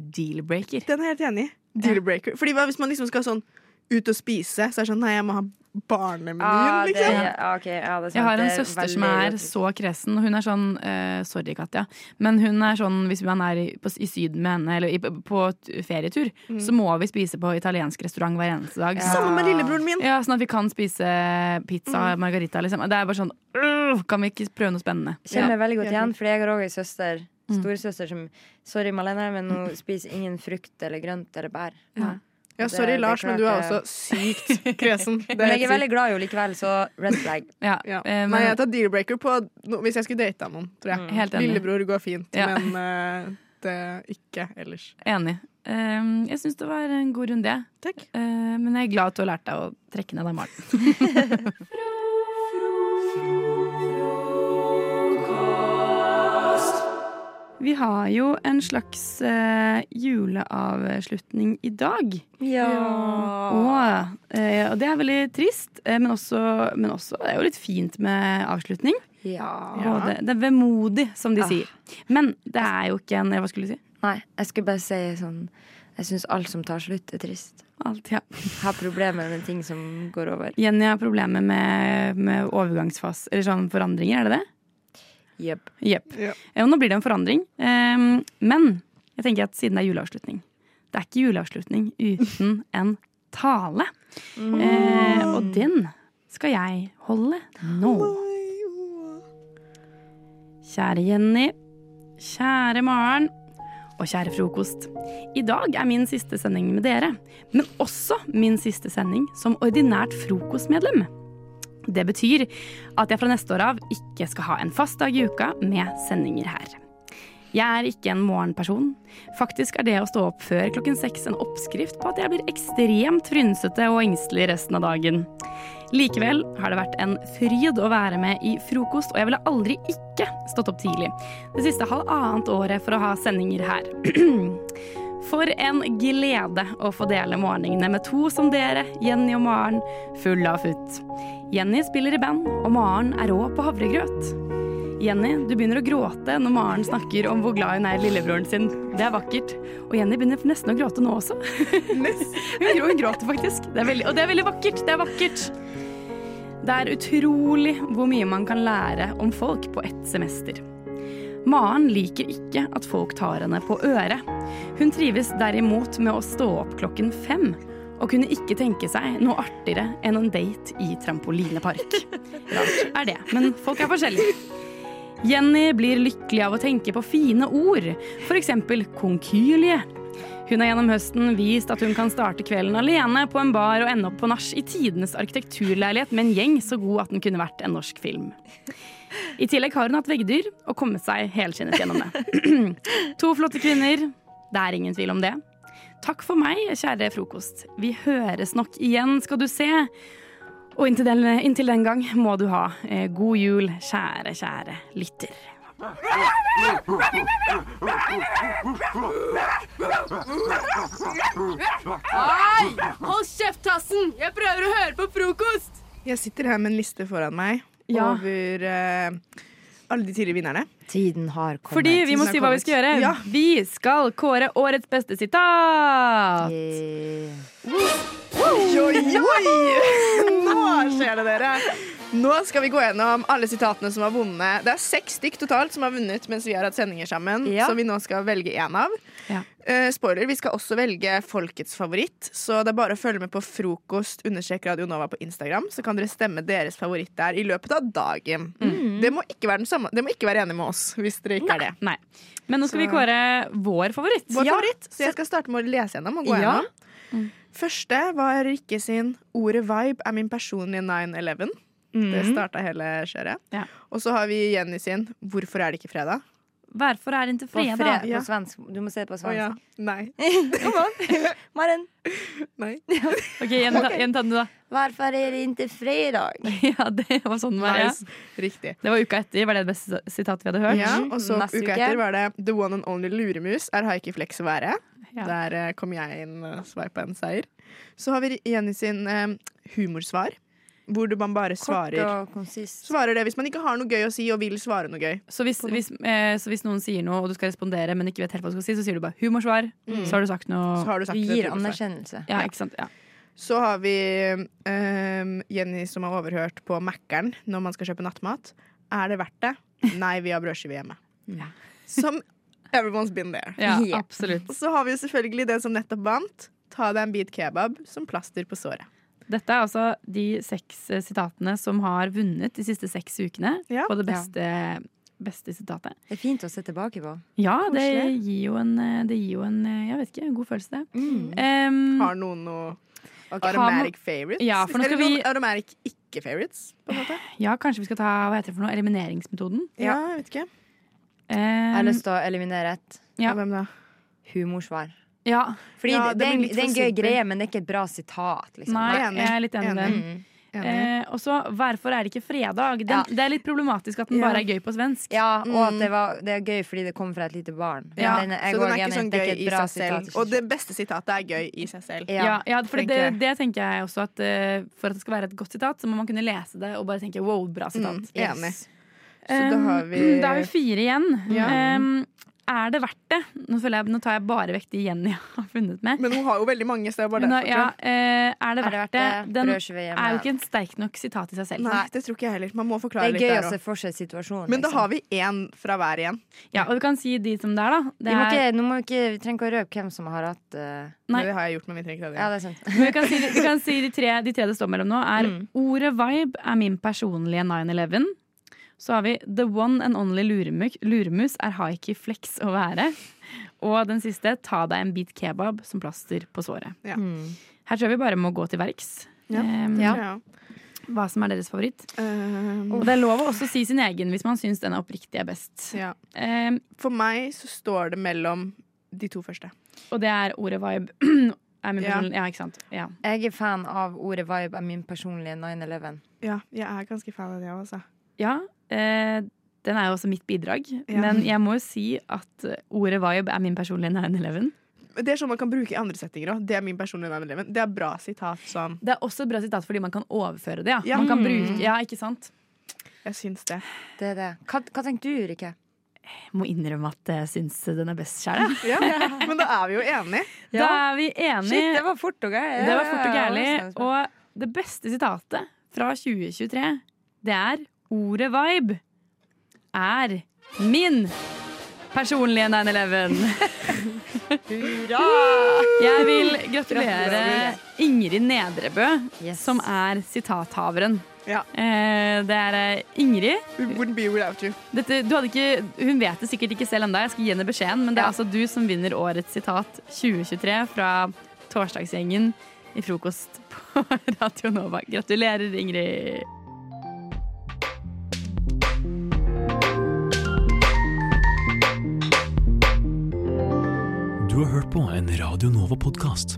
S11: Deal-breaker.
S28: Den er jeg helt enig i. Deal-breaker. Fordi hva hvis man liksom skal sånn ut og spise, så er det sånn Nei, jeg må ha barnemeny,
S12: Ah, det-
S28: liksom.
S12: ja, ok, ja, det er sant.
S11: Jeg har en
S12: Det er
S11: søster
S12: veldig
S11: som er
S12: godt.
S11: så kresen, og hun er sånn eh, Sorry, Katja, men hun er sånn hvis man er i, på, i Syden med henne, eller i, på t- ferietur,
S28: Mm.
S11: så må vi spise på italiensk restaurant hver eneste dag.
S28: Ja. Sammen med lillebroren min.
S11: Ja, Sånn at vi kan spise pizza
S12: Mm.
S11: margarita, liksom. Det er bare sånn «Åh, Kan vi ikke prøve noe spennende?
S12: Kjenner meg veldig godt igjen, fordi jeg har òg ei søster,
S11: Mm.
S12: storesøster, som Sorry, Malene, men hun spiser ingen frukt eller grønt eller bær.
S11: Ja.
S28: Ja,
S12: Og det-
S28: sorry,
S12: det
S28: Lars, men
S12: klart
S28: du er også
S12: jeg-
S28: sykt kresen. Det
S12: Men jeg
S28: helt
S12: er veldig
S28: sykt.
S12: glad i henne likevel, så red flag.
S28: Ja.
S11: eh, men-
S28: Nei, jeg tar deal-breaker på no, hvis jeg skulle data noen, tror jeg.
S11: Mm. Helt enig.
S28: Lillebror går fint,
S11: Ja.
S28: men eh, det ikke ellers.
S11: Enig. Ehm, jeg syns det var en god runde, jeg. Eh, men jeg er glad at du har lært deg å trekke ned deg, Maren. Vi har jo en slags eh, juleavslutning i dag.
S12: Ja.
S11: Og, eh, og det er veldig trist, eh, men, også, men også det er jo litt fint med avslutning. Både, det er vemodig, som de
S12: Ah.
S11: sier. Men det er jo ikke en eh, Hva skulle du si?
S12: Nei, jeg skulle bare si sånn Jeg syns alt som tar slutt, er trist.
S11: Alt, ja.
S12: Har problemer med ting som går over.
S11: Jenny har problemer med, med overgangsfas, eller sånn forandringer, er det det?
S12: Jepp.
S11: Jepp. Eh, Og nå blir det en forandring. Ehm, men jeg tenker at siden det er juleavslutning Det er ikke juleavslutning uten en tale. Eh, og den skal jeg holde nå. Kjære Jenny. Kjære Maren. Og kjære frokost. I dag er min siste sending med dere, men også min siste sending som ordinært frokostmedlem. Det betyr at jeg fra neste år av ikke skal ha en fast dag i uka med sendinger her. Jeg er ikke en morgenperson. Faktisk er det å stå opp før klokken seks en oppskrift på at jeg blir ekstremt frynsete og engstelig resten av dagen. Likevel har det vært en fryd å være med i frokost, og jeg ville aldri ikke stått opp tidlig det siste halvannet året for å ha sendinger her. For en glede å få dele morgenene med to som dere, Jenny og Maren, full av futt. Jenny spiller i band, og Maren er rå på havregrøt. Jenny, du begynner å gråte når Maren snakker om hvor glad hun er i lillebroren sin. Det er vakkert. Og Jenny begynner nesten å gråte nå også. Jeg tror hun gråter faktisk. Det er veldig, og det er veldig vakkert. Det er vakkert. Det er utrolig hvor mye man kan lære om folk på ett semester. Maren liker ikke at folk tar henne på øret. Hun trives derimot med å stå opp klokken fem, og kunne ikke tenke seg noe artigere enn en date i trampolinepark. Rart er det, men folk er forskjellige. Jenny blir lykkelig av å tenke på fine ord, f.eks. konkylie. Hun har gjennom høsten vist at hun kan starte kvelden alene på en bar og ende opp på nach i tidenes arkitekturleilighet med en gjeng så god at den kunne vært en norsk film. I tillegg har hun hatt veggdyr og kommet seg helskinnet gjennom det. to flotte kvinner. Det er ingen tvil om det. Takk for meg, kjære frokost. Vi høres nok igjen, skal du se. Og inntil den, inntil den gang må du ha eh, god jul, kjære, kjære lytter.
S15: Hei! Hold kjeft, Tassen! Jeg prøver å høre på frokost!
S28: Jeg sitter her med en liste foran meg
S11: Ja.
S28: over eh, alle de tidligere vinnerne.
S12: Tiden har kommet.
S11: Fordi vi må si hva vi skal gjøre.
S28: Ja.
S11: Vi skal kåre årets beste sitat.
S28: Oi, oi, oi! Nå skjer det, dere. Nå skal vi gå gjennom alle sitatene som har vunnet. Det er seks stykk totalt som har vunnet mens vi har hatt sendinger sammen,
S11: Ja.
S28: som vi nå skal velge én av.
S11: Ja.
S28: Eh, spoiler, vi skal også velge folkets favoritt, så det er bare å følge med på frokost understrek Radio Nova på Instagram, så kan dere stemme deres favoritt der i løpet av dagen. Det må ikke være den samme Det må ikke være enig med oss hvis dere ikke er det.
S11: Mm. Nei. Men nå skal
S28: Så-
S11: vi kåre vår favoritt.
S28: Vår favoritt. Så jeg skal starte med å lese gjennom og gå
S11: Ja.
S28: gjennom. Første var Rikke sin 'Ordet vibe er min personlige 9-11'. Det
S11: Mhm.
S28: starta hele kjøret. Og så har vi Jenny sin 'Hvorfor er det ikke fredag'?
S11: Værfor er inntil fredag.
S12: På, fre på svensk. Du må se det på svensk.
S28: Å ja. Nei.
S12: Kom an. Maren.
S28: Nei.
S11: Ok, gjenta
S12: Ok.
S11: gjenta den, du, da.
S12: Hvorfor er det ikke fredag?
S11: Ja, det var sånn det var.
S28: Nice. Riktig.
S11: Det var uka etter, var det det beste sitatet vi hadde hørt?
S28: Ja, og så
S11: Neste
S28: uka etter var det The One and Only Luremus er Haiki Flex å være. Der eh, kom jeg inn og sveipa en seier. Så har vi Jenny sin eh, humorsvar, hvor du man bare svarer
S12: og konsist.
S28: Svarer det hvis man ikke har noe gøy å si og vil svare noe gøy.
S11: Så hvis, hvis, eh, så hvis noen sier noe, og du skal respondere, men ikke vet helt hva du skal si, så sier du bare 'humorsvar'.
S28: Mm.
S11: Så har du sagt noe
S28: Så har du sagt det, tror jeg.
S11: Ja, ikke sant? Ja.
S28: Så har vi ehm, Jenny som har overhørt på Mækkern når man skal kjøpe nattmat. Er det verdt det? Nei, vi har brødskive hjemme. Som everyone's been there.
S11: Ja, absolutt.
S28: Og så har vi jo selvfølgelig det som nettopp vant. Ta deg en bit kebab som plaster på såret.
S11: Dette er altså de seks eh, sitatene som har vunnet de siste seks ukene på det beste, beste sitatet.
S12: Det er fint å se tilbake på.
S11: Ja, det
S12: Koselig.
S11: gir jo en, eh, det gir jo en eh, jeg vet ikke, en god følelse, det.
S12: Mm.
S11: Eh,
S28: har noen noe
S11: Har
S28: automatic
S11: man-
S28: favorites?
S11: Ja, for nå skal
S28: Eller noen
S11: vi-
S28: automatic ikke-favorites, på en måte?
S11: Ja, kanskje vi skal ta hva heter det for noe, elimineringsmetoden?
S28: Ja, jeg vet ikke.
S11: Jeg
S12: har lyst til å eliminere ett.
S11: Ja.
S28: Hvem da?
S12: Humorsvar.
S11: Ja.
S12: Fordi
S11: Ja,
S12: det,
S11: det
S12: det, er en,
S11: blir litt
S12: det er en
S11: for
S12: gøy
S11: simpel.
S12: greie, men det er ikke et bra sitat. Liksom.
S11: Nei, jeg er litt enig i det.
S12: Mm.
S11: Eh, og så 'Hvorfor er det ikke fredag'? Den, Det er litt problematisk at den
S12: Ja.
S11: bare er gøy på svensk.
S12: Ja, og at det, var, det er gøy fordi det kommer fra et lite barn.
S11: Ja,
S12: Men er- jeg
S28: Mm. Så den
S12: går
S28: er
S12: igjen
S28: ikke
S12: i,
S28: sånn
S12: det er
S28: gøy
S12: ikke
S28: i
S12: et bra
S28: seg selv.
S12: sitat.
S28: Og det beste sitatet er gøy i seg selv.
S11: Ja, ja, for
S28: tenker jeg.
S11: det, det tenker jeg også at eh, For at det skal være et godt sitat, så må man kunne lese det og bare tenke 'wow, bra sitat'.
S28: Mm, enig. Så da har vi
S11: Um, Da er vi fire igjen.
S28: Ja.
S11: Um, er det verdt det? Nå, føler jeg, nå tar jeg bare vekk de Jenny har funnet med.
S28: Men hun har jo veldig mange, så det er bare
S11: Nå,
S28: derfor,
S11: ja,
S28: tror jeg.
S11: eh, er det verdt det? Den
S12: Brødskive hjemme.
S11: er jo ikke en sterk nok sitat i seg selv.
S28: Nei, det tror ikke jeg heller. Man må
S12: Det
S28: forklare
S12: er
S28: litt
S12: gøy
S28: der
S12: å se
S28: også.
S12: for seg situasjonen.
S28: Men da
S12: liksom.
S28: har vi én fra hver igjen.
S11: Ja, og vi kan si de som det er, da. Det
S12: vi, må
S11: er-
S12: ikke, nå må vi, ikke, vi trenger ikke å røpe hvem som har hatt eh,
S11: Nei.
S28: Det har jeg gjort, men vi trenger ikke ta det.
S12: Ja, det er sant.
S11: Men vi kan si, vi kan si de, tre, de tre det står mellom nå, er ordet vibe er min personlige 9-11. Så har vi the one and only luremuk, luremus er haiki flex å være. Og den siste ta deg en bit kebab som plaster på såret.
S28: Ja.
S11: Her tror jeg vi bare må gå til verks.
S28: Ja.
S11: Ehm,
S28: Ja.
S11: Hva som er deres favoritt.
S28: Ehm.
S11: og det er lov å også si sin egen hvis man syns den er oppriktig er best.
S28: Ja.
S11: Ehm,
S28: For meg så står det mellom de to første.
S11: og det er ordet vibe. er min
S28: Ja.
S11: personlige, ja. ikke sant? Ja.
S12: Jeg er fan av ordet vibe er min personlige 9-11.
S28: Ja, jeg er ganske fan av det òg, altså.
S11: Ja, eh, den er jo også mitt bidrag. Men jeg må jo si at ordet vibe er min personlige 9-11.
S28: Det er sånn man kan bruke i andre settinger òg. Det er min personlige navn. Eleven. Det er bra sitat som
S11: Det er også et bra sitat fordi man kan overføre det. Ja.
S28: Ja.
S11: Man kan
S28: Mm.
S11: bruke, ja, ikke sant?
S28: Jeg syns det.
S12: Det er det. Hva, hva tenker du, Rikke?
S11: Jeg må innrømme at jeg syns den er best sjæl.
S28: Ja, men da er vi jo enige.
S11: Da er vi enige.
S12: Shit, det var fort og gærlig.
S11: Det var fort og
S12: Ja, ja, ja,
S11: gærlig.
S12: det var spennende.
S11: Og det beste sitatet fra 2023, det er ordet vibe er min personlige 9-11.
S12: Hurra!
S11: Jeg vil gratulere Ingrid Nedrebø, som er sitathaveren. Eh, det er eh, Ingrid. Dette, du hadde ikke, hun vet det sikkert ikke selv ennå, jeg skal gi henne beskjeden, men det er altså du som vinner årets sitat 2023 fra torsdagsgjengen i frokost på Radio Nova. Gratulerer, Ingrid.
S5: Du har hørt på en Radio Nova-podkast.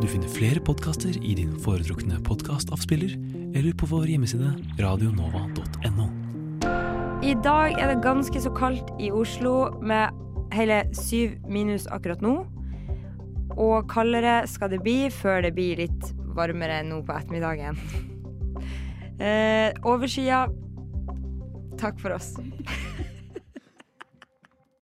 S5: Du finner flere podkaster i din foretrukne podkastavspiller eller på vår hjemmeside radionova.no.
S12: I dag er det ganske så kaldt i Oslo med hele syv minus akkurat nå. Og kaldere skal det bli før det blir litt varmere nå på ettermiddagen. Eh, Overskya. Takk for oss.